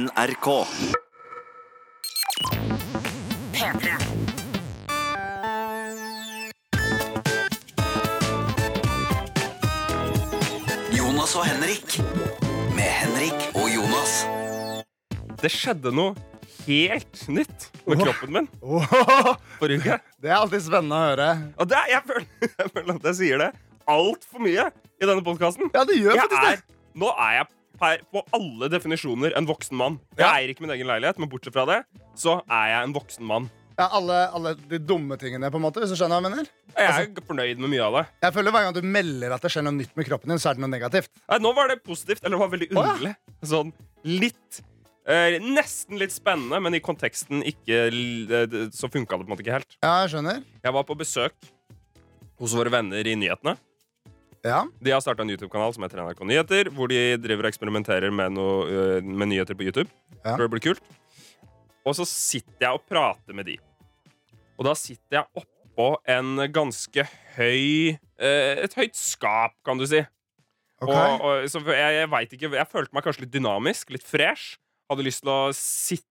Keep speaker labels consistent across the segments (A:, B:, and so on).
A: NRK. Jonas og Henrik. Med Henrik og Jonas.
B: Det skjedde noe helt nytt med
C: Åh.
B: kroppen min
C: Åh,
B: forrige uke.
C: det er alltid spennende å høre.
B: Og det, er- jeg, føler, jeg føler at jeg sier det altfor mye i denne podkasten.
C: Ja, det gjør
B: Jeg
C: faktisk det.
B: er, nå er jeg per, på alle definisjoner en voksen mann. Jeg
C: Ja.
B: eier ikke min egen leilighet, men bortsett fra det, så er jeg en voksen mann.
C: Ja, alle, alle de dumme tingene, på en måte, hvis du skjønner hva jeg mener.
B: Og Altså, Jeg er fornøyd med mye av det.
C: Jeg føler Hver gang du melder at det skjer noe nytt med kroppen din, så er det noe negativt.
B: Nei, nå var det positivt, eller det var veldig
C: Å, ja.
B: underlig. Sånn litt eh, Nesten litt spennende, men i konteksten ikke l- eh, det- Så funka det på en måte ikke helt.
C: Ja, jeg skjønner.
B: Jeg var på besøk hos våre venner i nyhetene.
C: Ja,
B: De har starta en YouTube-kanal som heter NRK Nyheter, hvor de driver og eksperimenterer med, noe, øh, med nyheter på YouTube.
C: Ja.
B: Tror det blir kult. Og så sitter jeg og prater med de. Og da sitter jeg oppå en ganske høy øh, Et høyt skap, kan du si.
C: ok.
B: Og, og, så jeg, jeg vet ikke Jeg følte meg kanskje litt dynamisk, litt fresh. Hadde lyst til å sitte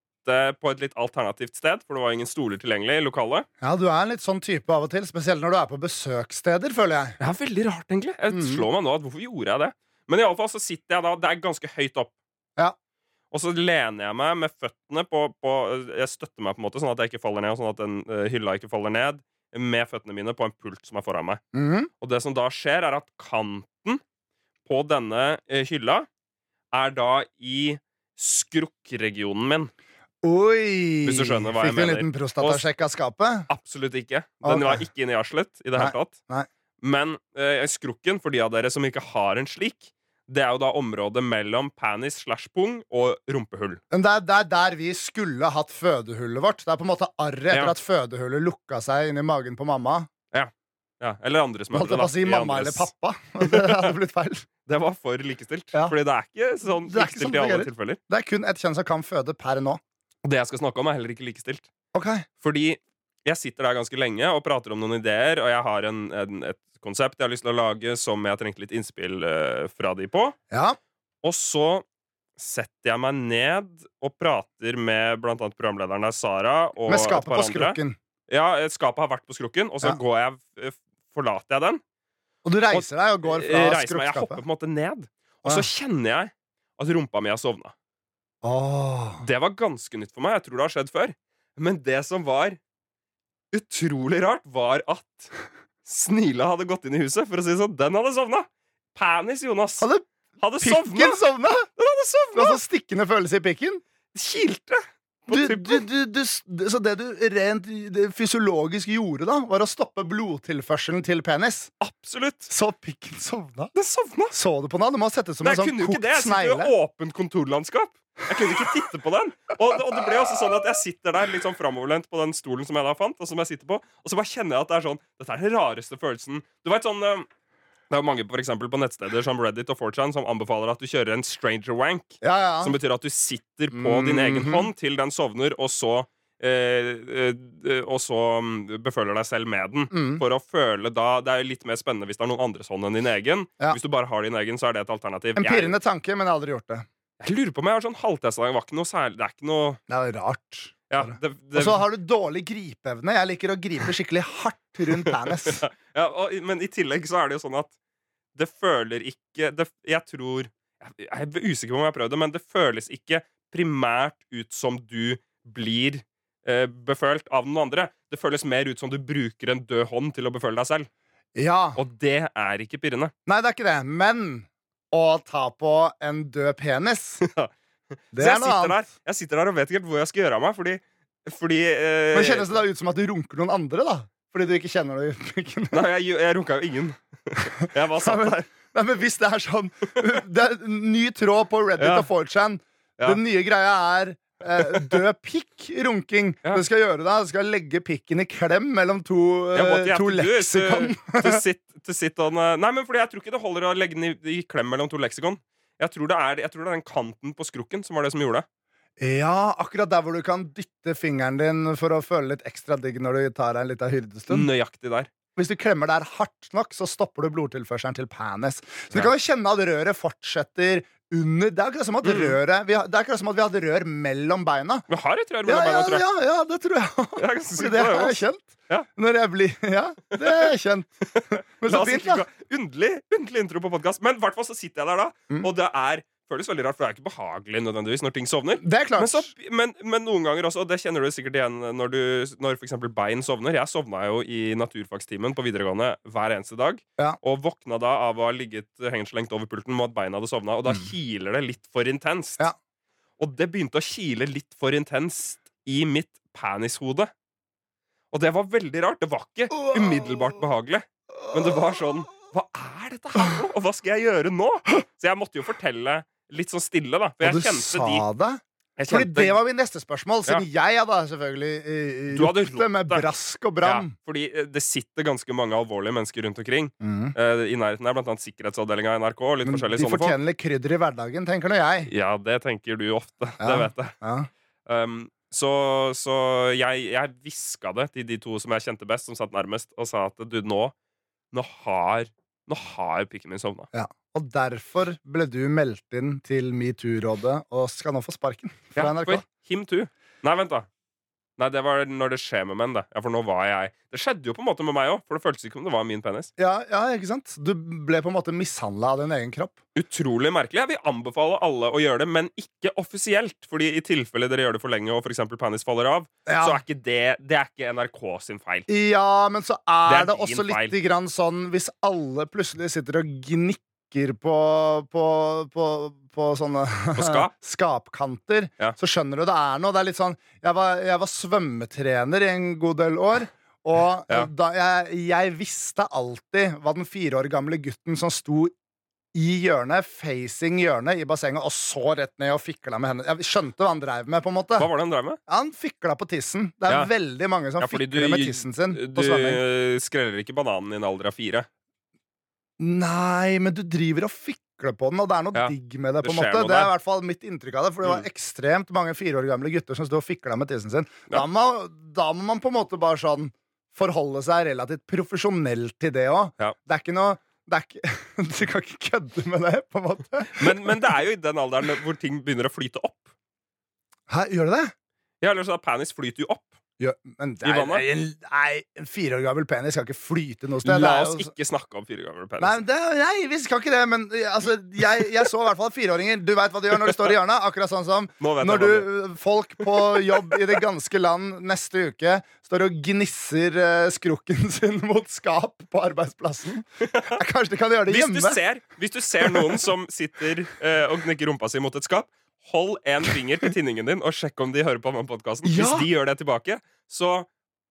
B: på et litt alternativt sted, for det var ingen stoler tilgjengelig i lokalet.
C: Ja, Du er en litt sånn type av og til, spesielt når du er på besøkssteder, føler jeg.
B: Ja, veldig rart, egentlig. Jeg
C: Mhm.
B: slår meg nå at hvorfor gjorde jeg det? Men iallfall så sitter jeg da Det er ganske høyt opp.
C: Ja.
B: Og så lener jeg meg med føttene på, på Jeg støtter meg på en måte sånn at jeg ikke faller ned, og sånn at den eh, hylla ikke faller ned, med føttene mine på en pult som er foran meg.
C: Mhm.
B: Og det som da skjer, er at kanten på denne eh, hylla er da i skrukkregionen min.
C: Oi!
B: Hvis du skjønner hva jeg
C: Fikk du en
B: mener.
C: liten prostatasjekk av skapet?
B: Absolutt ikke. Den
C: Ok.
B: var ikke inne i arslet i det
C: Nei,
B: hele tatt.
C: nei.
B: Men eh, skrukken, for de av dere som ikke har en slik, det er jo da området mellom panis slash pung og rumpehull.
C: Men det er, det er der vi skulle hatt fødehullet vårt. Det er på en måte arret etter
B: Ja.
C: at fødehullet lukka seg inni magen på mamma.
B: Ja, eller andres
C: Holdt
B: mødre,
C: jeg på å si
B: I
C: mamma eller
B: andres-
C: pappa. Det hadde blitt feil.
B: Det var for likestilt.
C: Ja.
B: Fordi det er ikke sånn
C: Det er ikke sånn
B: likestilt i
C: det
B: alle
C: fungerer.
B: tilfeller.
C: Det er kun ett kjønn som kan føde per nå.
B: Og det jeg skal snakke om, er heller ikke likestilt.
C: Ok
B: Fordi jeg sitter der ganske lenge og prater om noen ideer, og jeg har en, en, et konsept jeg har lyst til å lage som jeg trengte litt innspill eh, fra de på.
C: Ja,
B: Og så setter jeg meg ned og prater med blant annet programlederen der, Sara. Og
C: Med skapet
B: et par
C: på
B: andre.
C: skrukken.
B: Ja, eh, skapet har vært på skrukken, og så
C: Ja.
B: går jeg, eh, forlater jeg den.
C: Og du reiser deg og går fra
B: eh, reiser meg, jeg hopper på
C: skrukkskapet.
B: en måte ned, og så
C: Å, ja.
B: kjenner jeg at rumpa mi har sovna.
C: Åh.
B: Det var ganske nytt for meg. Jeg tror det har skjedd før. Men det som var utrolig rart, var at Snila hadde gått inn i huset, for å si det sånn. Den hadde sovna! Panis, Jonas.
C: Hadde
B: hadde sovna!
C: Pikken sovna!
B: Den hadde
C: Det var
B: sovna!
C: så stikkende følelse i pikken.
B: Kilte! på
C: Du,
B: tuppen.
C: du, du, du, s- så det du rent det fysiologisk gjorde, da, var å stoppe blodtilførselen til penis.
B: Absolutt.
C: Så pikken sovna.
B: Den sovna.
C: Så du på den? Du må ha sett ut som
B: Nei,
C: en
B: jeg
C: sånn
B: kunne jo ikke
C: kokt
B: det. Jeg sitter jo
C: snegle.
B: i åpent kontorlandskap. Jeg kunne ikke titte på den. Og, og det ble også sånn at jeg sitter der litt sånn framoverlent på den stolen som jeg da fant, og som jeg sitter på, og så bare kjenner jeg at det er sånn Dette er den rareste følelsen. Du vet sånn eh, Det er jo mange for eksempel, på nettsteder som Reddit og 4chan som anbefaler at du kjører en stranger wank,
C: Ja, ja.
B: som betyr at du sitter på din egen
C: Mhm.
B: hånd til den sovner, og så eh, eh, eh, og så mm, beføler deg selv med den.
C: Mm.
B: For å føle da Det er jo litt mer spennende hvis det er noen andres hånd enn din egen.
C: Ja.
B: Hvis du bare har din egen, så er det et alternativ.
C: En
B: Jeg-
C: pirrende tanke, men jeg har aldri gjort det.
B: jeg lurer på om jeg har sånn halvtesla Det var ikke noe særlig Det er ikke noe
C: Det er rart.
B: ja, det,
C: Og
B: det,
C: så har du dårlig gripeevne. Jeg liker å gripe skikkelig hardt rundt penis.
B: ja, og, Men i tillegg så er det jo sånn at Det føler ikke det, Jeg tror jeg, jeg er usikker på om jeg har prøvd det Men det føles ikke primært ut som du blir eh, Befølt av noen andre Det føles mer ut som du bruker en død hånd Til å beføle deg selv
C: Ja.
B: Og det er ikke pirrende
C: Nei, det er ikke det. Men å ta på en død penis Det
B: Så
C: er
B: jeg
C: noe
B: sitter
C: annet.
B: der Jeg sitter der og vet ikke helt hvor jeg skal gjøre av meg Fordi, fordi eh,
C: Men kjennes det da ut som at du runker noen andre, da? Fordi du ikke kjenner det i pikken?
B: Nei, jeg, jeg runka jo ingen Jeg var satt
C: Nei, men-
B: der
C: Nei, men hvis det er sånn Det er en ny tråd på Reddit
B: Ja.
C: og 4chan.
B: Ja.
C: Den nye greia er eh, død pikk-runking.
B: Ja.
C: Det skal gjøre da, det skal legge pikken i klem mellom to, eh,
B: Ja, what you have
C: to
B: to do is, uh,
C: leksikon.
B: to sit, to sit on, uh, Nei, men fordi jeg tror ikke det holder å legge den i, i klem mellom to leksikon. Jeg tror, det er, jeg tror det er den kanten på skrukken som var det som gjorde det.
C: Ja, akkurat der hvor du kan dytte fingeren din for å føle litt ekstra digg når du tar deg en liten hyrdestund.
B: Nøyaktig der.
C: Hvis du klemmer der hardt nok, så stopper du blodtilførselen til penis. Så
B: Ja.
C: du kan jo kjenne at røret fortsetter under Det er akkurat som at
B: Mm.
C: røret vi, har- Det er akkurat som at vi hadde rør mellom beina.
B: Vi har et rør
C: Ja,
B: mellom
C: ja,
B: beina, tror jeg.
C: ja, ja, det tror jeg òg.
B: Jeg er ganske sikker på
C: Det
B: det
C: har jeg
B: også.
C: kjent.
B: Ja.
C: Når jeg blir Ja, det er kjent. Men
B: La
C: så
B: oss
C: fint,
B: ikke
C: da.
B: gå- Underlig, underlig intro på podkast. Men i hvert fall så sitter jeg der da,
C: Mm.
B: og det er føles veldig rart, for det er jo ikke behagelig nødvendigvis når ting sovner.
C: Det er klart.
B: Men, så, men, men noen ganger også, og det kjenner du sikkert igjen når, du, når for eksempel bein sovner. Jeg sovna jo i naturfagstimen på videregående hver eneste dag.
C: Ja.
B: Og våkna da av å ha ligget hengelslengt over pulten med at beina hadde sovna. Og da kiler det litt for intenst.
C: Mm. Ja.
B: Og det begynte å kile litt for intenst i mitt penishode. Og det var veldig rart. Det var ikke umiddelbart behagelig. Men det var sånn Hva er dette her nå? Og hva skal jeg gjøre nå? Så jeg måtte jo fortelle litt sånn stille, da. For
C: Og
B: jeg
C: du
B: kjente
C: sa
B: de
C: det?
B: jeg
C: Fordi
B: kjente-
C: det var mitt neste spørsmål, siden jeg hadde selvfølgelig eh,
B: Du hadde
C: gjort det
B: ropt
C: med
B: det.
C: brask og bram.
B: Ja, fordi eh, det sitter ganske mange alvorlige mennesker rundt omkring.
C: Mm.
B: eh, I nærheten her, blant annet sikkerhetsavdelinga i NRK. og Litt
C: Men
B: forskjellige
C: de
B: sånne folk.
C: fortjener litt krydder i hverdagen, tenker nå jeg.
B: Ja, det tenker du ofte.
C: Ja.
B: Det vet jeg.
C: Ja.
B: Um, så så jeg, jeg hviska det til de to som jeg kjente best, som satt nærmest, og sa at du, nå Nå har Nå har pikken min sovna.
C: Og derfor ble du meldt inn til metoo-rådet og skal nå få sparken fra
B: Ja,
C: NRK.
B: for him too. Nei, vent, da. Nei, det var når det skjer med menn, det. Ja, for nå var jeg Det skjedde jo på en måte med meg òg, for det føltes ikke som det var min penis.
C: Ja, ja, ikke sant? Du ble på en måte mishandla av din egen kropp.
B: Utrolig merkelig. Jeg vil anbefale alle å gjøre det, men ikke offisielt. Fordi i tilfelle dere gjør det for lenge og f.eks. penis faller av, så
C: Ja.
B: er ikke det Det er ikke NRK sin feil.
C: ja, men så er
B: Det er
C: det,
B: din
C: også
B: feil.
C: litt grann sånn hvis alle plutselig sitter og gnikker på, på, på, på sånne
B: På skap?
C: skapkanter,
B: Ja.
C: så skjønner du det er noe. Det er litt sånn Jeg var, jeg var svømmetrener i en god del år. Og
B: Ja.
C: da jeg, jeg visste alltid hva den fire år gamle gutten som sto i hjørnet, facing hjørnet i bassenget, og så rett ned og fikla med hendene. Jeg skjønte hva han dreiv med, på en måte.
B: Hva var det han drev med?
C: Han fikla på tissen. Det er
B: Ja.
C: veldig mange som
B: Ja, fordi
C: fikler
B: du-
C: med tissen sin
B: Du
C: Mm, på svømming.
B: eh, skreller ikke bananen i en alder av fire.
C: Nei, men du driver og fikler på den, og det er noe
B: Ja,
C: digg med det.
B: det
C: på en
B: skjer
C: måte
B: noe
C: Det er i
B: der. Mm.
C: hvert fall mitt inntrykk av det, for det var ekstremt mange fire år gamle gutter som sto og fikla med tissen sin.
B: Ja.
C: Da, må, da må man på en måte bare sånn forholde seg relativt profesjonelt til det òg.
B: Ja.
C: Det er ikke noe det er ikke, Du kan ikke kødde med det, på en måte.
B: Men, men det er jo i den alderen hvor ting begynner å flyte opp.
C: Hæ, gjør det det?
B: Ja, eller så er penis flyter jo opp.
C: Gjør, men det
B: I
C: er,
B: vannet?
C: en, nei, en fire år gammel penis skal ikke flyte noe sted. Det
B: La
C: er
B: oss
C: jo-
B: ikke snakke om fire ganger
C: Nei,
B: penis.
C: men det, nei, vi skal ikke det, men eh, altså, jeg, jeg så i hvert fall fireåringer. Du veit hva de gjør når de står i hjørnet. Akkurat sånn som
B: Nå vet
C: når du,
B: jeg hva det er.
C: eh, folk på jobb i det ganske land neste uke står og gnisser eh, skrukken sin mot skap på arbeidsplassen. Eh, Kanskje de kan gjøre det
B: Hvis du
C: hjemme?
B: ser, hvis du ser noen som sitter eh, og knekker rumpa si mot et skap, hold en finger til tinningen din og sjekk om de hører på denne podkasten. Hvis
C: Ja.
B: de gjør det tilbake, så,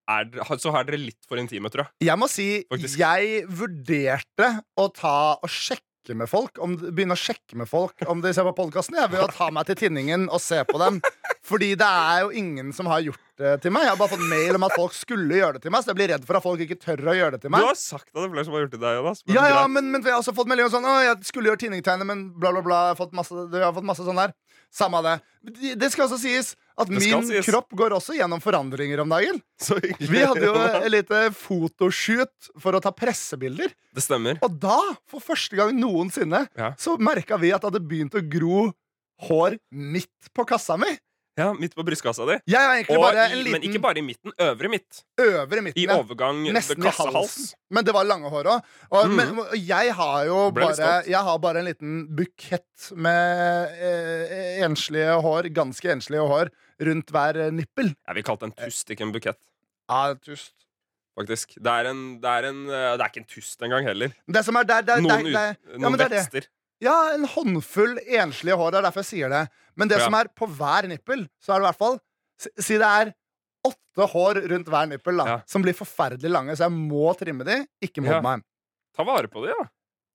B: er, dere- så har dere litt for intime, tror jeg.
C: Jeg må si
B: Faktisk.
C: jeg vurderte å ta og sjekke med folk om, Begynne å sjekke med folk om de ser på podkasten. Jeg vil jo ta meg til tinningen og se på dem. Fordi det er jo ingen som har gjort det til meg. Jeg har bare fått mail om at folk skulle gjøre det til meg. Så jeg blir redd for at folk ikke tør å gjøre det til
B: Du
C: meg.
B: har sagt at det er flere som har gjort det til deg, Jonas. men
C: Ja, ja,
B: greit.
C: men, men jeg har også fått melding om sånn Å, jeg skulle gjøre tinningtegnet, men bla, bla, bla. Jeg har fått masse, jeg har fått masse sånn der. Samme av det. Men Det skal også sies at
B: Det skal
C: min
B: sies.
C: kropp går også gjennom forandringer om dagen.
B: Så hyggelig.
C: Vi hadde jo et lite fotoshoot for å ta pressebilder.
B: Det stemmer.
C: Og da, for første gang noensinne,
B: Ja.
C: så merka vi at det hadde begynt å gro hår midt på kassa mi.
B: Ja, Midt på brystkassa di.
C: Jeg er egentlig
B: Og
C: bare
B: i,
C: en
B: men
C: liten
B: ikke bare i midten. Øvre midt.
C: øvre midten.
B: I
C: ja.
B: overgang
C: Nesten i
B: kassehals.
C: halsen. Men det var lange hår òg. Og,
B: Mm.
C: men- og jeg har jo
B: Ble litt
C: bare,
B: stolt.
C: jeg har bare en liten bukett med eh, enslige hår, ganske enslige hår, rundt hver eh, nippel.
B: Jeg vil kalle det en tust, ikke en bukett.
C: Ja, tust.
B: Faktisk. Det er, en, det, er en, eh, det er ikke en tust engang heller.
C: Det som er der, der,
B: Noen,
C: der,
B: ut,
C: der ja,
B: noen
C: men det er det.
B: vekster.
C: Ja, en håndfull enslige hår. Det er derfor jeg sier det. Men det
B: Ja.
C: som er på hver nippel, så er det i hvert fall Si si det er åtte hår rundt hver nippel, da,
B: Ja.
C: som blir forferdelig lange, så jeg må trimme de. Ikke mobb
B: Ja.
C: meg.
B: Ta vare på det, ja.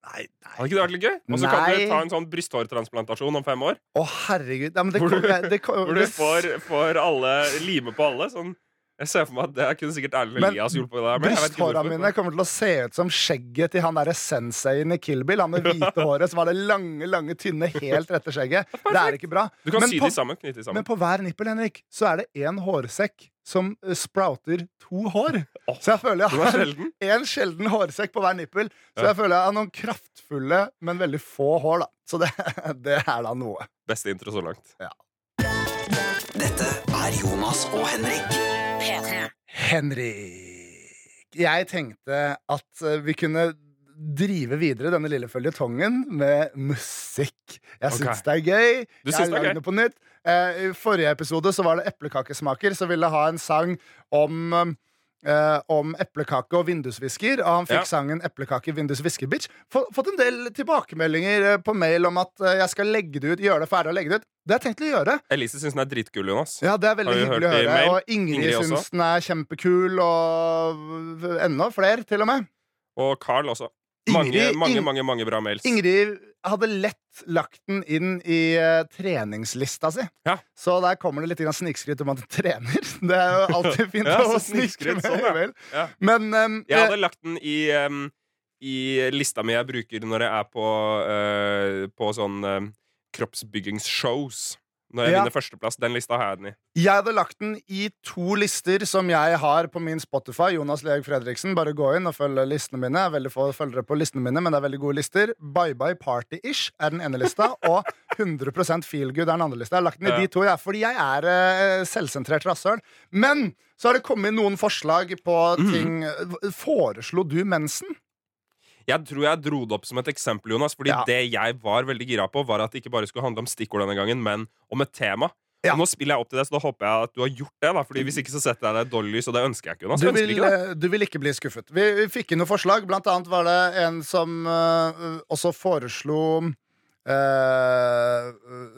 C: Nei,
B: Hadde ikke det vært litt gøy? Og så kan
C: Nei.
B: du ta en sånn brysthårtransplantasjon om fem år.
C: Å, herregud. Ja, men det,
B: Hvor du-
C: kom- jeg- det, kom-
B: Hvor du
C: det,
B: får, får alle lime på alle. Sånn. Jeg ser for meg at det kunne sikkert Erlend
C: Men
B: Elias hjulpet deg med. Jeg vet ikke
C: Brysthåra
B: hvorfor.
C: mine kommer til å se ut som skjegget til han derre senseien i Kill Bill. Han med hvite håret som har det lange, lange, tynne helt rette skjegget. Det er ikke bra.
B: Du kan
C: Men
B: sy
C: på-
B: de sammen. Knyte de sammen.
C: Men på hver nippel Henrik, så er det én hårsekk som eh, sprouter to hår. Så jeg føler
B: Det
C: jeg
B: var
C: har
B: sjelden.
C: én sjelden hårsekk på hver nippel. Så
B: Ja.
C: jeg føler jeg har noen kraftfulle, men veldig få hår, da. Så det, det er da noe.
B: Beste intro så langt.
A: Dette er Jonas og Henrik.
D: P3.
C: Henrik. Jeg tenkte at eh, vi kunne drive videre denne lille føljetongen med musikk. Jeg syns
B: Ok.
C: det er gøy.
B: Du
C: jeg
B: syns det er
C: har
B: gøy?
C: lagd det på nytt. Eh, I forrige episode så var det eplekakesmaker som ville ha en sang om eh, om eplekake og vindusvisker. Og han fikk
B: Ja.
C: sangen 'Eplekake, vindusvisker, bitch'. Få- Fått en del tilbakemeldinger eh, på mail om at eh, jeg skal legge det ut, gjøre det ferdig og legge det ut. Det har jeg tenkt å gjøre.
B: Elise syns den er dritkul, Jonas.
C: Ja, det er veldig
B: Har vi
C: hyggelig å
B: hørt det i
C: høre.
B: mail?
C: Og Ingrid,
B: Ingrid også?
C: syns den er kjempekul, og enda flere, til og med.
B: Og Carl også. Mange,
C: Ingrid-
B: mange,
C: Ing-
B: mange, mange bra mails.
C: Ingrid hadde lett lagt den inn i eh, treningslista si.
B: Ja.
C: Så der kommer det litt grann snikskryt om at du trener. Det er jo alltid fint
B: Ja, så
C: å snikskryte
B: snikskryt,
C: med.
B: sånn, ja.
C: vel?
B: Ja.
C: Men ehm,
B: Jeg hadde lagt den i, em, i lista mi jeg bruker når jeg er på, eh, på sånn em, kroppsbyggingsshows. Når jeg
C: Ja.
B: vinner førsteplass. Den lista har jeg den i.
C: Jeg hadde lagt den i to lister som jeg har på min Spotify. Jonas Leog Fredriksen. Bare gå inn og følg listene mine. Det er Veldig få følgere på listene mine, men det er veldig gode lister. Bye Bye Party-ish er den ene lista, og 100 Feel Good er den andre lista. Jeg har lagt den i
B: Ja.
C: de to, jeg, fordi jeg er eh, selvsentrert rasshøl. Men så har det kommet noen forslag på ting Foreslo du mensen?
B: Jeg tror jeg dro det opp som et eksempel, Jonas. Fordi
C: Ja.
B: det jeg var veldig gira på, var at det ikke bare skulle handle om stikkord denne gangen, men om et tema.
C: Ja. Mm.
B: Og nå spiller jeg opp til det, så da håper jeg at du har gjort det. da Fordi Hvis ikke så setter jeg deg i dårlig lys, og det ønsker jeg ikke. Jonas
C: Du
B: Jeg ønsker
C: vil,
B: ikke det.
C: eh, du vil ikke bli skuffet. Vi, vi fikk inn noen forslag. Blant annet var det en som eh, også foreslo eh,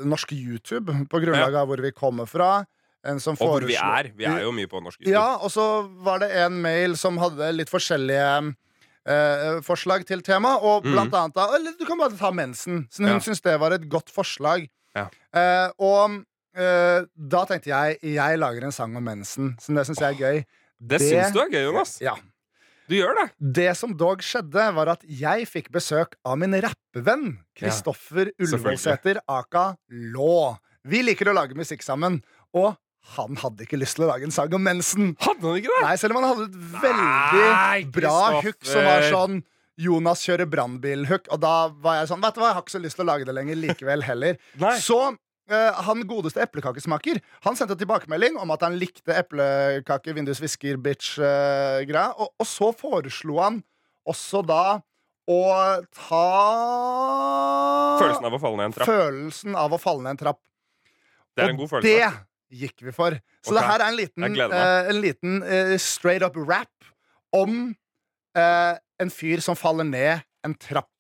C: norsk YouTube på grunnlag av hvor vi kommer fra. En som
B: Og hvor vi
C: foreslo-
B: er. Vi er jo mye på norsk YouTube.
C: eh, Ja, og så var det en mail som hadde litt forskjellige eh, forslag til tema, og blant annet da Eller du kan bare ta mensen. Så hun
B: Mm. Ja.
C: syntes det var et godt forslag.
B: Ja.
C: Eh, og eh, da tenkte jeg jeg lager en sang om mensen, så det syns jeg er gøy.
B: Det
C: det-
B: syns du er gøy, Jonas.
C: Ja
B: Du gjør det.
C: det som dog skjedde, var at jeg fikk besøk av min rappevenn Kristoffer Ullevålseter aka Lå. Vi liker å lage musikk sammen, og han hadde ikke lyst til å lage en sang om mensen.
B: Hadde han ikke det?
C: Nei, selv om han hadde et veldig
B: Nei,
C: bra hook som var
B: Kristoffer.
C: sånn Jonas kjører brannbil-hook, og da var jeg sånn Vet du hva, jeg har ikke så lyst til å lage det lenger likevel heller.
B: Nei.
C: Så eh, han godeste eplekakesmaker Han sendte tilbakemelding om at han likte eplekake, vindus, visker, bitch-greia. og, og så foreslo han også da å ta
B: Følelsen av å falle ned en trapp.
C: Følelsen av å falle ned en trapp.
B: Det er en god
C: og
B: følelse.
C: det gikk vi for. Så
B: Ok.
C: det her er en
B: Jeg
C: liten,
B: gleder meg.
C: eh, en liten eh, straight up rap om eh, en fyr som faller ned en trapp.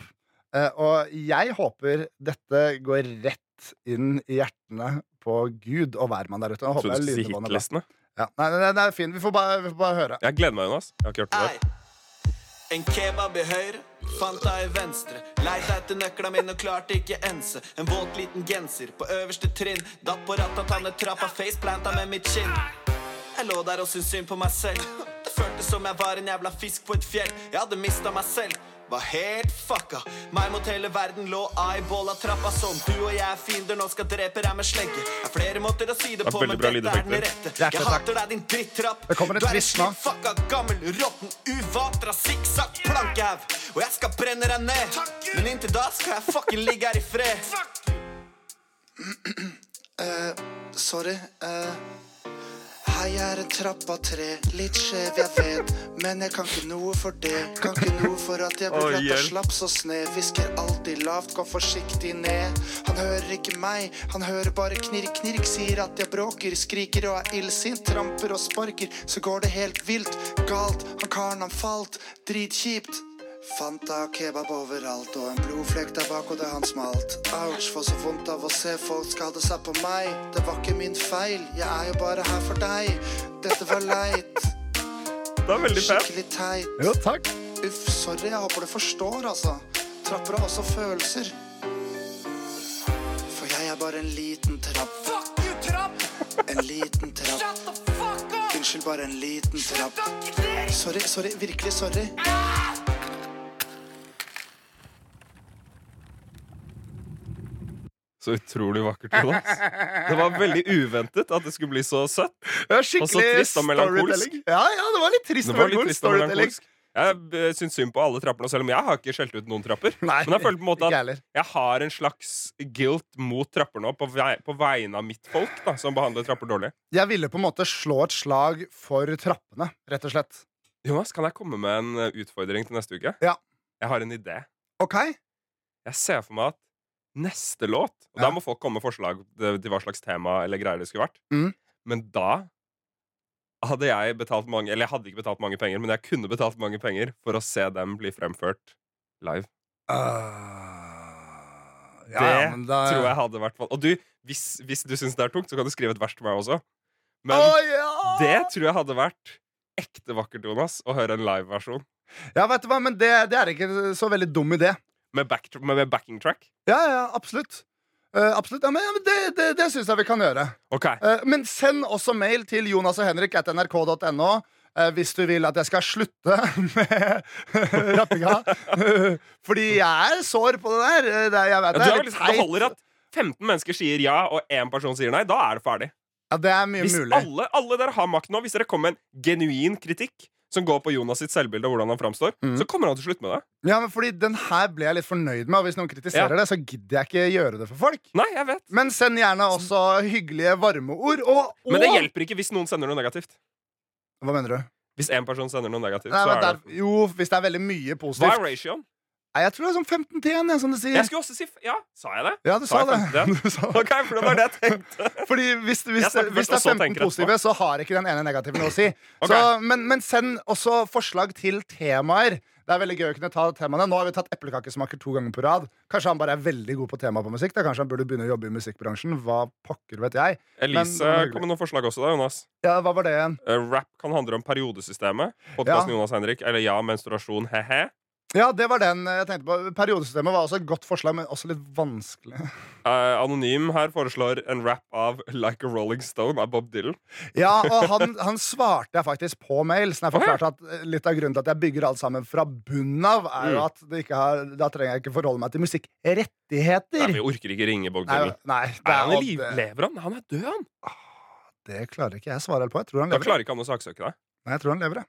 C: Eh, og jeg håper dette går rett inn i hjertene på Gud og hvermann der ute. Jeg
B: Jeg trodde
C: håper
B: du
C: det er
B: skulle si
C: lydnivåene bra.
B: hitlistene.
C: Ja. Nei, nei, nei, det er fint. Vi får bare, vi får bare høre.
B: Jeg gleder meg, Jonas. Jeg har ikke hørt det der.
E: Ei. En kebab i høyre, fanta i venstre. Leita etter nøkla mine og klarte ikke ense. En våt liten genser på øverste trinn. Datt på rattatannetrappa, faceplanta med mitt kinn. Jeg lå der og syntes synd på meg selv. Det føltes som jeg var en jævla fisk på et fjell. Jeg hadde mista meg selv. Var helt fucka. Meg mot hele verden lå eyeballa trappa som du og jeg er fiender, nå skal dreper jeg med slegge. Er flere måter å si det
B: Det er
E: på,
B: veldig
E: men
B: bra
E: dette er den
B: lydeffekter.
E: rette.
C: Hjertelig
E: Jeg
C: takk.
E: hater deg, din drittrapp.
C: Det kommer et
E: Du er en
C: visst nå.
E: slitt Fucka gammel, råtten, uvatra, sikksakk plankehaug. Og jeg skal brenne deg ned. Men inntil da skal jeg fucking ligge her i fred.
F: Sorry. eh, hei, jeg er en trappa tre. Litt skjev, jeg vet. Men jeg kan ikke noe for det. Kan ikke noe for at jeg
B: Oi,
F: blir glatt og
B: hjelp.
F: slaps og snev. Hvisker alltid lavt, går forsiktig ned. Han hører ikke meg, han hører bare knirk, knirk. Sier at jeg bråker, skriker og er illsint. Tramper og sparker, så går det helt vilt. Galt, han karen han falt. Dritkjipt. Fanta og kebab overalt, og en blodflekk der bak, og det han smalt. Ouch, får så vondt av å se folk skade seg på meg. Det var ikke min feil, jeg er jo bare her for deg. Dette var leit,
B: Det er veldig pent.
F: skikkelig teit.
C: Jo, takk.
F: Uff, sorry, jeg håper du forstår, altså. Trapper har også følelser. For jeg er bare en liten trapp,
G: Fuck you, Trump!
F: en liten trapp.
G: Shut the fuck up!
F: Unnskyld, bare en liten trapp.
G: Fuck you, bitch!
F: Sorry, sorry, virkelig sorry.
B: Så utrolig vakkert. Jonas. Det var veldig uventet at det skulle bli så søtt.
C: Det
B: Og
C: var
B: så
C: skikkelig
B: trist og melankolsk.
C: storytelling. Ja, ja, det var litt trist
B: Det
C: og
B: var litt
C: melankolsk
B: trist og
C: storytelling.
B: melankolsk. Jeg eh, syns synd på alle trappene, selv om jeg har ikke skjelt ut noen trapper.
C: Nei,
B: Men jeg føler på en måte
C: ikke
B: at
C: heller.
B: jeg har en slags guilt mot trapper nå, på, vei, på vegne av mitt folk, da, som behandler trapper dårlig.
C: Jeg ville på en måte slå et slag for trappene, rett og slett.
B: Jonas, kan jeg komme med en eh, utfordring til neste uke?
C: Ja.
B: Jeg har en idé.
C: Ok?
B: Jeg ser for meg at neste låt Og da
C: Ja.
B: må folk komme med forslag til til hva slags tema eller greier det skulle vært.
C: Mm.
B: Men da hadde jeg betalt mange Eller jeg hadde ikke betalt mange penger, men jeg kunne betalt mange penger for å se dem bli fremført live.
C: Øh, ja,
B: det
C: ja, men da-
B: tror jeg hadde vært Og du, hvis, hvis du syns det er tungt, så kan du skrive et vers til meg også. Men
C: Å, ja!
B: det tror jeg hadde vært ekte vakkert, Jonas, å høre en liveversjon
C: Ja, vet du hva, men det, det er ikke så veldig dum idé.
B: med, back, med, med backing track.
C: Ja, ja, absolutt. Eh, absolutt. Ja, men, ja, men det det, det syns jeg vi kan gjøre.
B: Ok,
C: Eh, men send også mail til Jonas og Henrik at nrk.no. eh, hvis du vil at jeg skal slutte med rappinga. Eh, Fordi jeg er sår på det der. Eh, Det, er- jeg
B: ja,
C: vet, det
B: du
C: er
B: har
C: litt
B: liksom, det
C: teit.
B: holder at 15 mennesker sier ja, og én person sier nei. Da er det ferdig.
C: Ja, det er mye
B: Hvis
C: mulig.
B: alle, alle dere har makt nå, hvis dere kommer med en genuin kritikk som går på Jonas sitt selvbilde og hvordan han framstår,
C: Mm.
B: så kommer han til slutt med det.
C: Ja, men fordi Den her ble jeg litt fornøyd med, og hvis noen kritiserer
B: Ja.
C: det, så gidder jeg ikke gjøre det for folk.
B: Nei, jeg vet.
C: Men send gjerne også hyggelige varmeord. Og, og
B: Men det hjelper ikke hvis noen sender noe negativt.
C: Hva mener du?
B: Hvis én person sender noe negativt,
C: Nei,
B: så
C: men
B: er
C: der,
B: det
C: jo, hvis det er veldig
B: Hva
C: mye
B: er
C: positivt.
B: ratioen?
C: Nei, jeg tror det er sånn 15 til 1, jeg, som du sier.
B: Jeg skulle også si f- Ja, sa jeg det?
C: Ja, du sa
B: jeg 15
C: det.
B: igjen?
C: Du sa det.
B: Ok, for det var det jeg tenkte.
C: Fordi hvis, hvis,
B: Jeg snakker først,
C: hvis det
B: og så
C: er 15
B: tenker jeg
C: positive, så har ikke den ene negativen noe å si.
B: Ok.
C: så, men, men send også forslag til temaer. Det er veldig gøy å kunne ta temaene. Nå har vi tatt eplekakesmaker to ganger på rad. Kanskje han bare er veldig god på temaet på musikk. Da. Kanskje han burde begynne å jobbe i musikkbransjen. Hva pokker vet jeg. Men det
B: Elise
C: var hyggelig.
B: kom med noen forslag også, da, Jonas.
C: Ja, hva var det igjen?
B: Eh, rap kan handle om periodesystemet. Podkasten Jonas Henrik. Eller ja, menstruasjon, he-he.
C: Ja, det var den eh, jeg tenkte på. Periodesystemet var også et godt forslag, men også litt vanskelig.
B: Eh, Anonym her foreslår en rap av Like a Rolling Stone av Bob Dylan.
C: Ja, og han, han svarte jeg faktisk på mail. Så
B: Å,
C: jeg
B: ja.
C: forklarte at eh, Litt av grunnen til at jeg bygger alt sammen fra bunnen av, er jo
B: Mm.
C: at det ikke har, da trenger jeg ikke forholde meg til
B: Nei,
C: musikkrettigheter.
B: vi orker ikke ringe Bob
C: Nei,
B: Dylan.
C: nei, det
B: Er
C: er
B: han i
C: alt-
B: liv? Lever han? Han er død, han!
C: Det klarer ikke jeg å svare helt på. Jeg tror han
B: Da
C: lever.
B: klarer ikke han å saksøke deg.
C: Nei, jeg tror han lever jeg.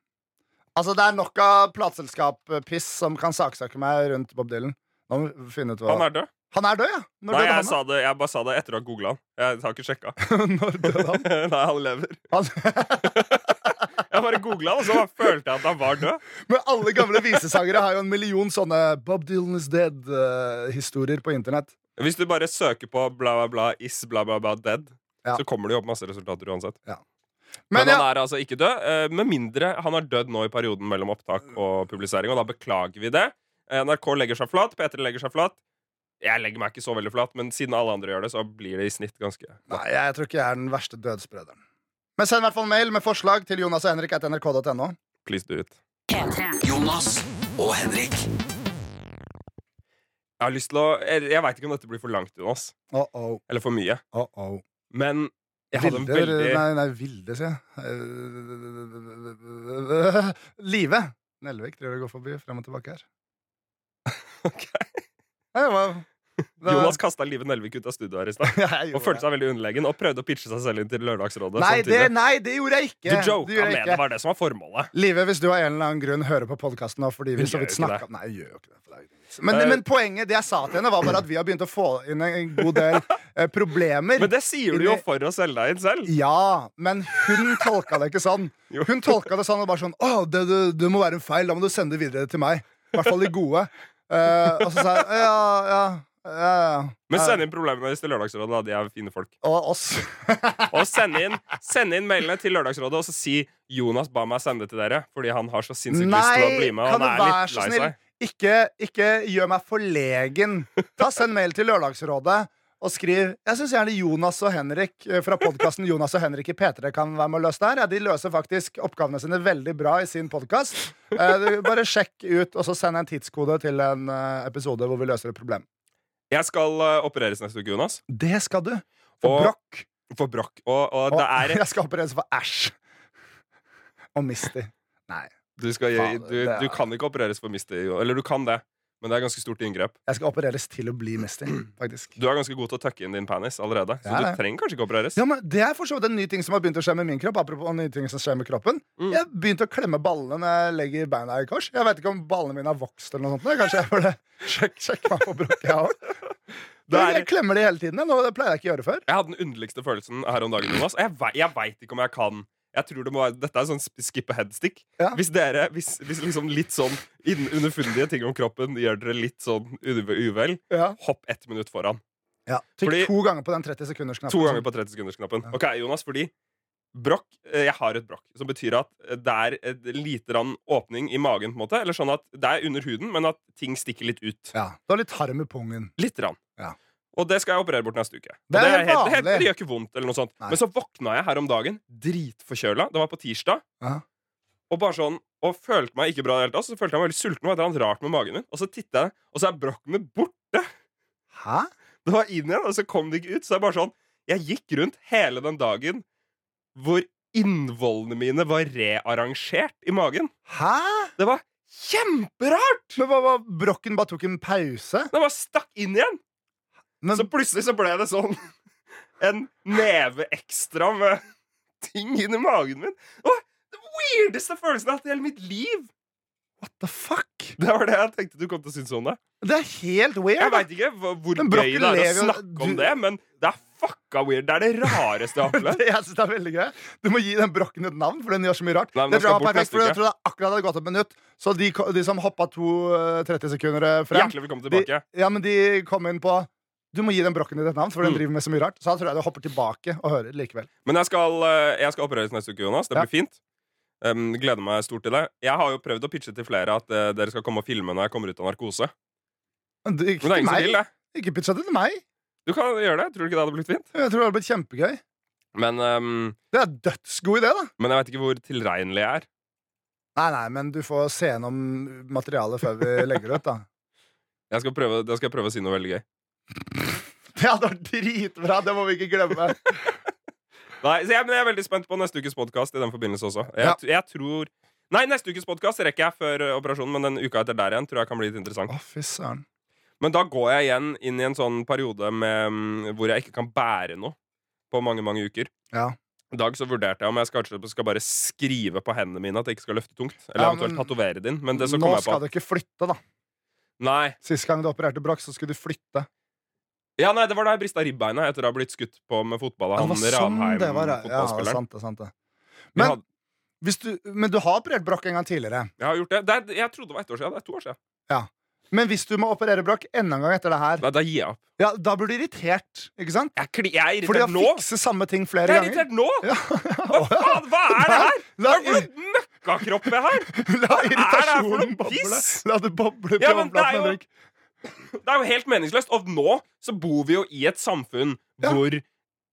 C: Altså, det er nok av plateselskap-piss som kan saksøke meg rundt Bob Dylan. Nå må vi finne ut hva
B: Han er død.
C: Han er død, ja! Når
B: Nei,
C: døde
B: jeg,
C: han?
B: sa det, jeg bare sa det etter å ha googla han. Jeg har ikke sjekka.
C: da? Når døde han?
B: Nei, han lever.
C: han?
B: Jeg bare googla han, og så følte jeg at han var død.
C: Men alle gamle visesangere har jo en million sånne Bob Dylan is dead-historier på internett.
B: Hvis du bare søker på bla, bla, bla, is bla, bla, bla, dead,
C: Ja.
B: så kommer det jo opp masse resultater uansett. Men,
C: Men ja,
B: han er altså ikke død, eh, med mindre han er dødd nå i perioden mellom opptak og publisering, og da beklager vi det. Eh, NRK legger seg flat, P3 legger seg flat. Jeg legger meg ikke så veldig flat, men siden alle andre gjør det, så blir det i snitt ganske
C: Nei, jeg tror ikke jeg er den verste dødssprederen. Men send i hvert fall mail med forslag til Jonas og Henrik at nrk.no.
B: Please do it.
A: Jonas og Henrik.
B: Jeg har lyst til å Jeg, jeg veit ikke om dette blir for langt, Jonas.
C: Oh -oh,
B: Eller for mye.
C: oh -oh.
B: Men jeg hadde en
C: Vilde
B: veldig
C: Nei, nei Vilde, sier jeg. Eh, Live Nelvik driver og går forbi frem og tilbake her.
B: Ok.
C: Nei, det var- det var-
B: Jonas kasta livet Nelvik ut av studioet her i stad.
C: Ja, jeg
B: Og
C: gjorde
B: følte
C: det.
B: seg veldig underlegen og prøvde å pitche seg selv inn til Lørdagsrådet.
C: Nei det,
B: samtidig.
C: nei, det gjorde jeg ikke!
B: du
C: Det
B: joka
C: gjorde jeg
B: med
C: ikke.
B: det var det som var formålet.
C: Live, hvis du av en eller annen grunn hører på podkasten nå fordi vi
B: Hun
C: så
B: gjør
C: vidt
B: jo ikke
C: snakket om Nei, jeg gjør jo ikke det. for det er jo ikke noe vits. Men,
B: Eh.
C: men poenget det jeg sa til henne, var bare at vi har begynt å få inn en- en god del eh, problemer.
B: Men det sier du jo for å selge deg inn selv.
C: Ja, men hun tolka det ikke sånn.
B: Jo.
C: Hun tolka det sånn og bare sånn Å, det, det, det må være en feil. Da må du sende det videre til meg. I hvert fall de gode. Eh, og så sa jeg ja, ja, ja, ja.
B: Men send inn problemene deres til Lørdagsrådet, da. De er fine folk.
C: Og oss.
B: Og send inn, send inn mailene til Lørdagsrådet, og så si 'Jonas ba meg sende det til dere', fordi han har så sinnssykt lyst til å bli
C: Nei,
B: med. Og
C: kan du
B: han er
C: være
B: litt
C: så
B: lei
C: snill?
B: seg.
C: Ikke, ikke gjør meg forlegen. Ta Send mail til Lørdagsrådet og skriv Jeg syns gjerne Jonas og Henrik eh, fra podkasten Jonas og Henrik i P3 kan være med å løse det her. Ja, de løser faktisk oppgavene sine veldig bra i sin podkast. Bare sjekk ut, og så send en tidskode til en eh, episode hvor vi løser et problem.
B: Jeg skal eh, opereres neste uke, Jonas.
C: Det skal du.
B: Og-
C: For brokk.
B: For brokk. Og, og
C: Og
B: det er
C: jeg skal opereres for æsj. Og Misty. Nei.
B: Du, skal,
C: Faen,
B: du,
C: det er-
B: du kan ikke opereres for mistet, jo. Eller du kan det. men det er ganske stort inngrep.
C: Jeg skal opereres til å bli mister, faktisk.
B: Du er ganske god til å tucke inn din penis allerede, så
C: Ja, ja.
B: du trenger kanskje ikke opereres.
C: Ja, men Det er for så vidt en ny ting som har begynt å skje med min kropp. Apropos nye ting som skjer med kroppen
B: Mm.
C: Jeg har begynt å klemme ballene når jeg legger beina i kors. Jeg vet ikke om ballene mine har vokst eller noe sånt. men Kanskje jeg burde sjek- sjekke meg på brokket, jeg òg.
B: Det er-
C: Jeg klemmer det hele tiden. jeg. Nå, det pleier jeg ikke å gjøre før.
B: Jeg hadde den underligste følelsen her om dagen, Jonas. og Jeg, vei- jeg veit ikke om jeg kan jeg tror det må være, Dette er sånn sp- skip ahead-stick.
C: Ja.
B: Hvis dere, hvis, hvis liksom litt sånn inn- underfundige ting om kroppen gjør dere litt sånn uve- uvel,
C: Ja.
B: hopp ett minutt foran.
C: Ja. Trykk
B: Fordi-
C: to ganger på den 30 sekunders-knappen.
B: To ganger på 30 sekunders-knappen. Ok, Jonas, fordi brokk eh, Jeg har et brokk, som betyr at eh, det er et lite grann åpning i magen, på en måte. Eller sånn at det er under huden, men at ting stikker litt ut.
C: Ja. Du har litt harm i pungen.
B: Litt. Rann.
C: Ja.
B: Og det skal jeg operere bort neste uke. Og
C: Det er helt
B: helt, helt,
C: vanlig.
B: det gjør ikke vondt eller noe sånt
C: Nei.
B: Men så våkna jeg her om dagen dritforkjøla. Det var på tirsdag.
C: Ja.
B: Og bare sånn Og følte meg ikke bra i det hele tatt. Så følte jeg meg veldig sulten. Og det var et eller annet rart med magen min Og så titta jeg, og så er brokkene borte.
C: Hæ?
B: Det var inn igjen, og så kom det ikke ut. Så jeg bare sånn Jeg gikk rundt hele den dagen hvor innvollene mine var rearrangert i magen.
C: Hæ?
B: Det var kjemperart!
C: Men hva, hva, Brokken bare tok en pause?
B: Den bare stakk inn igjen.
C: Men
B: Så plutselig så ble det sånn en neve ekstra med ting inni magen min. Det var den weirdeste følelsen jeg har hatt i hele mitt liv!
C: what the fuck?
B: Det var det jeg tenkte du kom til å synes om det.
C: Det er helt weird.
B: Jeg veit ikke hva- hvor
C: Men
B: gøy
C: brokken
B: det er å
C: lever jo-
B: snakke om
C: du-
B: det, men det er fucka weird. Det er det rareste jeg har opplevd.
C: Det- Jeg synes det er veldig gøy Du må gi den brokken et navn, for den gjør så mye rart.
B: Nei, men den
C: det tror jeg
B: skal
C: var
B: bort
C: perfekt,
B: neste
C: for jeg
B: uke.
C: tror det akkurat hadde gått et minutt. Så de, ko- de som hoppa to eh, 30 sekunder eh, frem,
B: Hjertelig velkommen
C: de,
B: tilbake.
C: ja, men de kom inn på Du må gi den brokken ditt et navn, for
B: Mm.
C: den driver med så mye rart. Så da tror jeg du hopper tilbake og hører likevel.
B: Men jeg skal, eh, jeg skal opereres neste uke, Jonas. Det
C: Ja.
B: blir fint. Um, gleder meg stort til det. Jeg har jo prøvd å pitche til flere at eh, dere skal komme og filme når jeg kommer ut av narkose.
C: Men det, ikke
B: Men det er
C: til
B: ingen som
C: meg.
B: vil det.
C: Ikke pitcha det til meg.
B: Du kan gjøre det. Tror du ikke det hadde blitt fint?
C: Jeg tror det hadde blitt kjempegøy.
B: Men, um,
C: Det er dødsgod idé, da.
B: men jeg veit ikke hvor tilregnelig jeg er.
C: Nei, nei, men du får se gjennom materialet før vi legger det ut, da.
B: Jeg skal prøve, da skal jeg prøve å si noe veldig gøy.
C: Det hadde vært dritbra! Det må vi ikke glemme.
B: Nei, så jeg, men jeg er veldig spent på neste ukes podkast i den forbindelse også. Jeg,
C: Ja.
B: t- jeg tror Nei, neste ukes podkast rekker jeg før eh, operasjonen, men den uka etter der igjen tror jeg kan bli litt interessant.
C: Å, fy søren.
B: Men da går jeg igjen inn i en sånn periode med, mm, hvor jeg ikke kan bære noe på mange, mange uker.
C: Ja.
B: I dag så vurderte jeg om jeg kanskje skal bare skrive på hendene mine at jeg ikke skal løfte tungt. Eller
C: Ja,
B: eventuelt
C: men-
B: tatovere din. Men det så
C: Nå
B: kom jeg på
C: skal du ikke flytte, da.
B: Nei.
C: Sist gang du opererte brokk, så skulle du flytte.
B: Ja, nei, det var da jeg brista ribbeina etter å ha blitt skutt på med fotball av
C: Ja,
B: han
C: det var sånn
B: Ranheim,
C: det var, ja. Ja, det er
B: fotballspilleren.
C: sant, det er sant, det.
B: Vi
C: Men-
B: hadde-
C: Hvis du, men du har operert brokk en gang tidligere.
B: Jeg har gjort det. det er, jeg trodde det var ett år siden. Det er to år siden.
C: Men hvis du må operere brokk enda en gang etter det her,
B: Nei, da gir jeg opp.
C: ja, da blir du irritert. ikke sant?
B: Jeg, er kli- jeg er
C: For de
B: irritert
C: har
B: nå!
C: fikset samme ting flere
B: Jeg er
C: ganger.
B: irritert nå!
C: Ja.
B: Hva faen, hva er det her?!
C: La,
B: Hva er det for noe møkkakropp jeg har?!
C: la
B: er det her for noe
C: irritasjonen boble.
B: piss?
C: La det boble til
B: Ja, men det er
C: overflaten,
B: jo-
C: Henrik.
B: Det er jo helt meningsløst. Og nå så bor vi jo i et samfunn
C: Ja.
B: hvor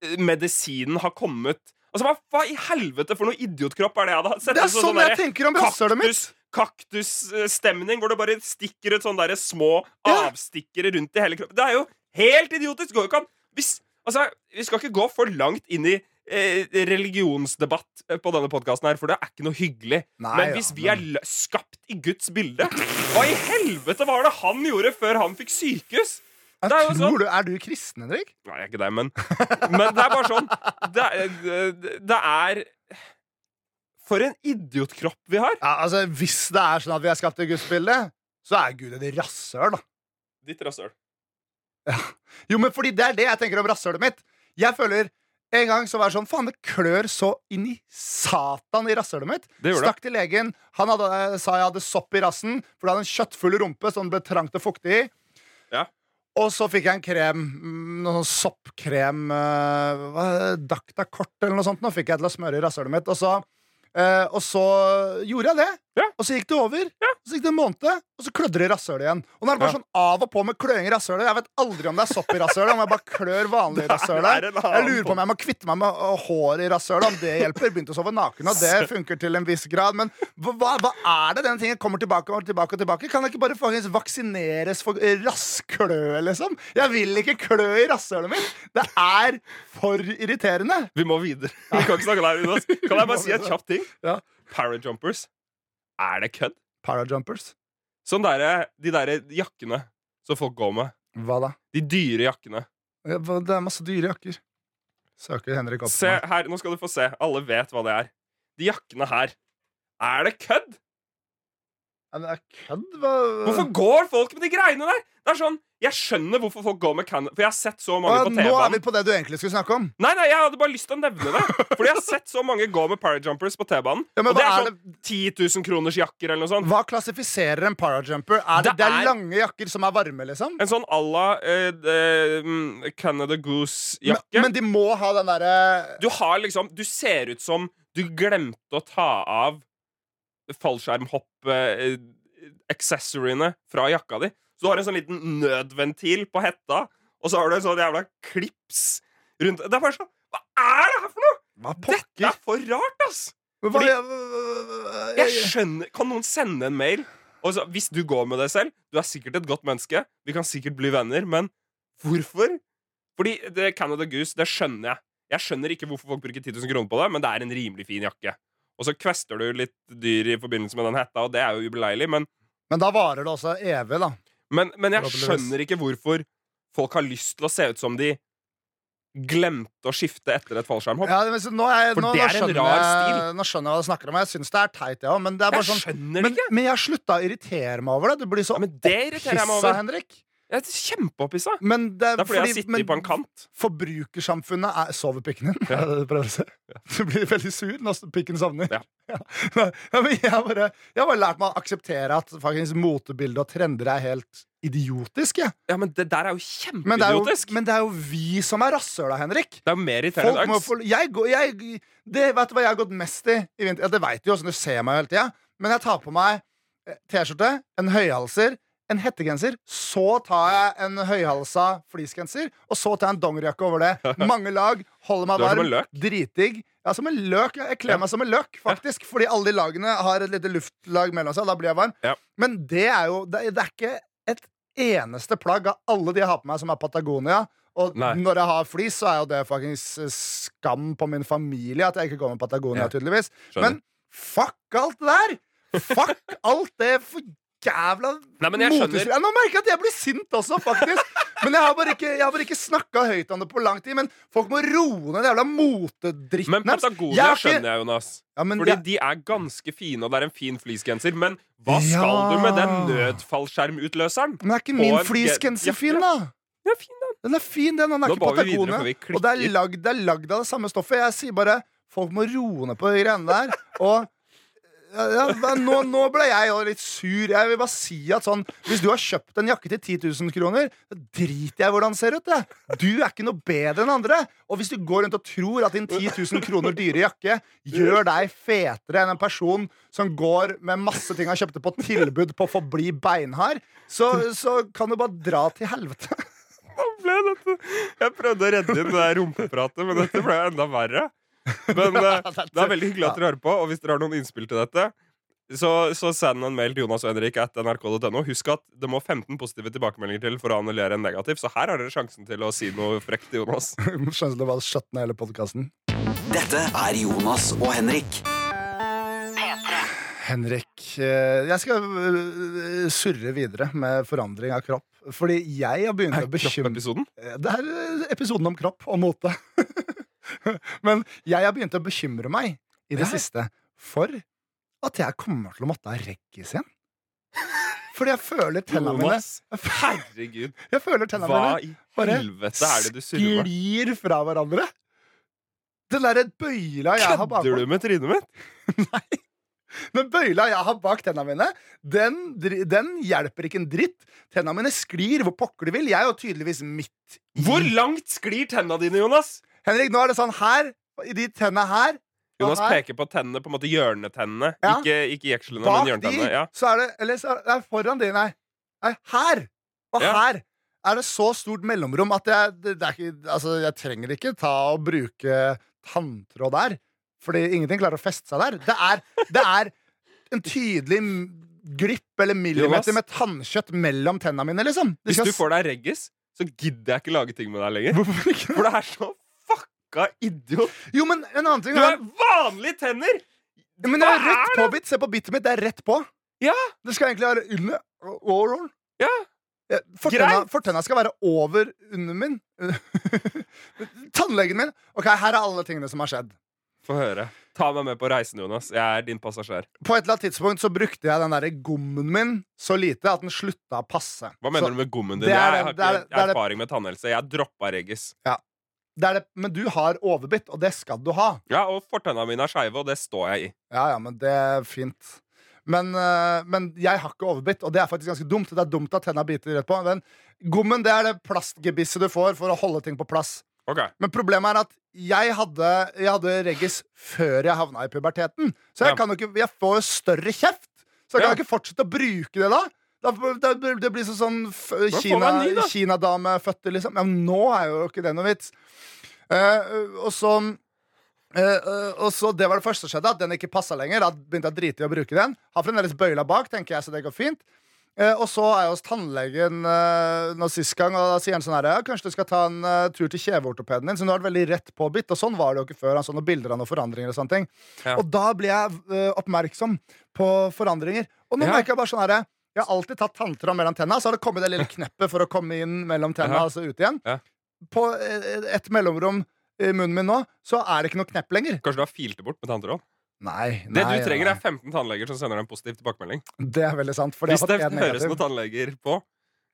B: eh, medisinen har kommet Altså, hva, hva i helvete for noe idiotkropp er det jeg hadde sett?
C: Det er
B: ut som
C: sånn jeg
B: derre
C: tenker om rasshølet mitt.
B: kaktus- Kaktusstemning, hvor det bare stikker ut sånne der små
C: Ja.
B: avstikkere rundt i hele kroppen. Det er jo helt idiotisk! Går jo ikke an. Hvis, altså, vi skal ikke gå for langt inn i eh, religionsdebatt eh, på denne podkasten her, for det er ikke noe hyggelig.
C: Nei,
B: men
C: ja,
B: hvis vi
C: men-
B: er lø- skapt i Guds bilde, hva i helvete var det han gjorde før han fikk sykehus? Det er jo
C: Jeg
B: sånn-
C: tror du, Er du kristen, Henrik?
B: Nei, jeg er ikke det, men Men det er bare sånn. Det er, eh, det er For en idiotkropp vi har!
C: Ja, altså, Hvis det er sånn at vi er skapt i gudsbildet, så er Gud et rasshøl, da.
B: Ditt rasshøl.
C: Jo, men fordi det er det jeg tenker om rasshølet mitt. Jeg føler en gang så var det sånn Faen, det klør så inn i satan i rasshølet mitt.
B: Det gjorde det.
C: Stakk til legen. Han hadde, eh, sa jeg hadde sopp i rassen, for det hadde en kjøttfull rumpe som ble trangt og fuktig i.
B: Ja.
C: Og så fikk jeg en krem, mm, noe sånn soppkrem eh, hva er det, Dactacort eller noe sånt. Nå fikk jeg til å smøre i rasshølet mitt. Og så, eh, og så gjorde jeg det.
B: Ja.
C: Og så gikk det over. Og Så gikk det en måned, og så klødde det i rasshølet igjen. Og nå er det bare
B: Ja.
C: sånn av og på med kløing i rasshølet. Jeg vet aldri om det er sopp i rasshølet, om jeg bare klør vanlig i rasshølet.
B: det er en annen
C: Jeg lurer på om jeg må kvitte meg med øh, hår i rasshølet, om det hjelper. Begynte å sove naken, og det funker til en viss grad. Men hva, hva- hva er det den tingen kommer tilbake og tilbake og tilbake? Kan jeg ikke bare faktisk vaksineres for eh, rasskløe, liksom? Jeg vil ikke klø i rasshølet mitt! Det er for irriterende.
B: Vi må videre. Vi kan ikke snakke der, Jonas. Kan jeg bare si en kjapp ting?
C: Ja.
B: Parajumpers. Er det kødd?
C: Parajumpers.
B: Sånn derre De derre jakkene som folk går med.
C: Hva da?
B: De dyre jakkene.
C: Ja, hva- Det er masse dyre jakker. Søker Henrik opp
B: Se
C: på meg.
B: her, Nå skal du få se. Alle vet hva det er. De jakkene her. Er det kødd?
C: Ja, men Det er kødd? Hva?
B: Hvorfor går folk med de greiene der? Det er sånn, Jeg skjønner hvorfor folk går med Canada, for jeg har sett så mange
C: Å,
B: på
C: Nå er
B: T-banen.
C: vi på det du egentlig skulle snakke om.
B: Nei, nei, jeg hadde bare lyst til å nevne det. Fordi jeg har sett så mange gå med parajumpers på T-banen.
C: Ja, men
B: og det
C: hva
B: er
C: er
B: sånn 10 000 kroners jakker eller noe sånt.
C: Hva klassifiserer en parajumper? Er det,
B: Det
C: det er
B: er-
C: lange jakker som er varme, liksom?
B: En sånn à la eh, eh, mm, Canada
C: Men,
B: Goose-jakke.
C: men de må ha den derre
B: Du har liksom Du ser ut som du glemte å ta av fallskjermhopp-accessoriene fra jakka di. Så du har en sånn liten nødventil på hetta, og så har du en sånn jævla klips rundt Det er bare sånn Hva er det her for noe?!
C: Hva
B: Dette
C: pokker?
B: er for rart, ass!
C: Hva-
B: fordi-
C: hva-
B: Jeg skjønner Kan noen sende en mail? Og så, hvis du går med deg selv Du er sikkert et godt menneske Vi kan sikkert bli venner Men hvorfor? Fordi det Canada Goose, det skjønner jeg Jeg skjønner ikke hvorfor folk bruker 10 000 kroner på det Men det er en rimelig fin jakke Og så kvester du litt dyr i forbindelse med den hetta Og det er jo ubeleilig Men,
C: Men da varer det også evig, da.
B: men, men jeg
C: Forhåpentligvis.
B: skjønner ikke hvorfor Folk har lyst til å se ut som de Glemte å skifte etter et fallskjermhopp
C: Ja, men så nå, er,
B: For
C: nå,
B: det
C: nå,
B: er en
C: skjønner
B: rar
C: jeg, nå skjønner jeg hva du snakker om. Jeg syns det er teit, jeg òg. Men, det er bare
B: Jeg
C: sånn,
B: skjønner det
C: men,
B: ikke
C: men jeg slutta å irritere meg over det. Du blir så
B: Ja, men det irriterer jeg meg
C: opphissa,
B: over.
C: Henrik.
B: Jeg er kjempeoppisset
C: Men det,
B: Det er fordi jeg sitter
C: men
B: på en kant
C: Forbrukersamfunnet er Sover pikken din?
B: Ja.
C: Er det det du prøver å si? Du blir veldig sur når pikken sovner.
B: Ja.
C: Ja. Nei, men Jeg har bare, jeg har bare lært meg å akseptere at faktisk motebildet og trender er helt idiotisk. jeg.
B: Ja, men det der er jo
C: Men, det er jo,
B: kjempeidiotisk
C: men det er jo vi som er rasshøla, Henrik.
B: Det er jo mer irriterende
C: Folk må
B: dags.
C: få, jeg, går- jeg, det vet du hva jeg har gått mest i i vinter. Ja, det vet du jo, sånn du ser meg jo hele tida. Men jeg tar på meg eh, T-skjorte, en høyhalser, en hettegenser. Så tar jeg en høyhalsa fleecegenser, og så tar jeg en dongerijakke over det. Mange lag, holder meg
B: Du er som
C: varm,
B: en løk.
C: dritdigg. Ja, som en løk. Jeg kler
B: Ja.
C: meg som en løk, faktisk. Fordi alle de lagene har et lite luftlag mellom seg, og da blir jeg varm.
B: Ja.
C: Men det er jo det, det er ikke et eneste plagg av alle de jeg har på meg, som er Patagonia. Og
B: Nei.
C: når jeg har flis, så er jo det fuckings eh, skam på min familie at jeg ikke går med Patagonia,
B: Ja.
C: tydeligvis.
B: Skjønner.
C: Men fuck alt det der! Fuck alt det for jævla
B: Nei, men jeg skjønner.
C: Ja, Nå merker jeg at jeg blir sint også, faktisk. Men jeg har bare ikke, jeg har bare ikke snakka høyt om det på lang tid. Men folk må roe ned den jævla motedritten
B: Men Patagonia skjønner jeg, Jonas.
C: Ja, men
B: Fordi
C: jeg-
B: de er ganske fine, og det er en fin fleecegenser. Men hva skal
C: Ja.
B: du med den nødfallskjermutløseren?
C: men er ikke
B: På
C: min
B: en
C: fleecegenser
B: jakke.
C: fin, da?
B: Den er fin, da.
C: Den er fin, den. Den er
B: Nå
C: ikke
B: var vi videre,
C: Patagonia.
B: for vi klikker.
C: Og det er, lagd, det er lagd av det samme stoffet. Jeg sier bare folk må roe ned på de greiene der. Og ja, ja, hva- nå, nå ble jeg jo litt sur. Jeg vil bare si at sånn Hvis du har kjøpt en jakke til 10 000 kroner, da driter jeg i hvordan den ser ut. Jeg. Du er ikke noe bedre enn andre. Og hvis du går rundt og tror at din 10 000 kroner dyre jakke gjør deg fetere enn en person som går med masse ting han kjøpte på tilbud på Forbli beinhard, så, så kan du bare dra til helvete.
B: Hva ble dette? Jeg prøvde å redde inn det der rumpepratet, men dette ble enda verre. Men eh, det er veldig hyggelig at dere hører på, og hvis dere har noen innspill til dette, så, så send en mail til Jonas og Henrik at nrk.no. Husk at det må 15 positive tilbakemeldinger til for å annullere en negativ, så her har dere sjansen til å si noe frekt til Jonas.
C: Skjønner du hva skjøtt ned hele podkasten?
A: Dette er Jonas og Henrik.
C: Henrik, eh, jeg skal eh, surre videre med forandring av kropp. Fordi jeg har begynt å bekymre
B: Episoden?
C: Eh, Det er eh, episoden om kropp og mote. Men jeg har begynt å bekymre meg i det
B: Ja.
C: siste for at jeg kommer til å måtte ha reggis igjen. Fordi jeg føler tennene mine
B: Jonas, herregud.
C: Jeg føler tennene
B: Hva
C: mine
B: i
C: bare
B: helvete er det du surrer med?
C: sklir fra hverandre. Den derre bøyla jeg har bakpå
B: Kødder du med trynet mitt?
C: Den bøyla jeg har bak tennene mine, den, dri- den hjelper ikke en dritt. Tennene mine sklir hvor pokker de vil. Jeg er jo tydeligvis midt i
B: Hvor langt sklir tenna dine, Jonas?
C: Henrik, nå er det sånn her, i de tennene her og
B: Jonas
C: her,
B: peker på tennene, på en måte hjørnetennene.
C: Ja.
B: Ikke, ikke jekslene,
C: Bak
B: men
C: de,
B: hjørnetennene. Ja.
C: så er det Eller så er det foran de, nei. nei her og
B: Ja.
C: her er det så stort mellomrom at jeg, det, det er ikke, altså, jeg trenger ikke ta og bruke tanntråd der. Fordi ingenting klarer å feste seg der. Det er, det er en tydelig m- glipp eller millimeter
B: Jonas?
C: med tannkjøtt mellom tennene mine, liksom. De
B: Hvis
C: skal
B: du
C: s-
B: får deg reggis, så gidder jeg ikke lage ting med deg lenger. For det er så fucka idiot.
C: Jo, men en annen ting
B: Du har
C: er
B: vanlige tenner!
C: Men jeg har
B: Hva er
C: rødt påbitt. Se på bittet mitt. Det er rett på.
B: Ja.
C: Det skal egentlig være under Oral?
B: Ja.
C: Ja, Fortenna, fortenna skal være over under min. Tannlegen min. Ok, Her er alle tingene som har skjedd.
B: Få høre. Ta meg med på reisen, Jonas. Jeg er din passasjer.
C: På et eller annet tidspunkt så brukte jeg den der gommen min så lite at den slutta å passe.
B: Hva mener
C: så,
B: du med gommen din?
C: det er
B: jeg har
C: det-
B: ikke
C: det er det- det er det-
B: erfaring med tannhelse. Jeg droppa reggis.
C: Det er det, men du har overbitt, og det skal du ha.
B: Ja, og fortenna mine er skeive, og det står jeg i.
C: Ja, ja, men det er fint. Men, eh, men jeg har ikke overbitt, og det er faktisk ganske dumt. Det er dumt at tenna biter rett på. Men gommen det er det plastgebisset du får for å holde ting på plass.
B: Ok,
C: Men problemet er at jeg hadde, jeg hadde reggis før jeg havna i puberteten. Så jeg,
B: Ja.
C: kan jo ikke, jeg får jo større kjeft. Så jeg kan
B: Ja.
C: jo ikke fortsette å bruke det da. Da- da- Det blir sånn, sånn f-
B: får
C: Kina,
B: man ny, da.
C: Kina-dameføtter, liksom. Ja, men nå er jo ikke det noe vits. Eh, og så eh, eh, og så Det var det første som skjedde, at den ikke passa lenger. Da begynte jeg å drite i å bruke den. Har fremdeles bøyla bak, tenker jeg, så det går fint. Eh, og så er jeg hos tannlegen eh, nå sist gang, og da sier han sånn her ja, Kanskje du skal ta en eh, tur til kjeveortopeden din, så nå er det veldig rett på bitt. Og sånn var det jo ikke før. Han så noen bilder av noen forandringer og sånne ting.
B: Ja.
C: Og da ble jeg eh, oppmerksom på forandringer. Og nå
B: Ja.
C: merker jeg bare sånn herre Jeg har alltid tatt tanntråd mellom tenna, så har det kommet det lille kneppet for å komme inn mellom tenna,
B: Ja.
C: altså ut igjen.
B: Ja.
C: På eh, et mellomrom i munnen min nå, så er det ikke noe knepp lenger.
B: Kanskje du har filt det bort med tanntråd?
C: Nei, nei
B: Det du trenger,
C: nei.
B: er 15 tannleger som sender deg en positiv tilbakemelding.
C: Det er veldig sant. For det
B: Hvis
C: har
B: det
C: fått en
B: høres
C: negativ.
B: noen tannleger på,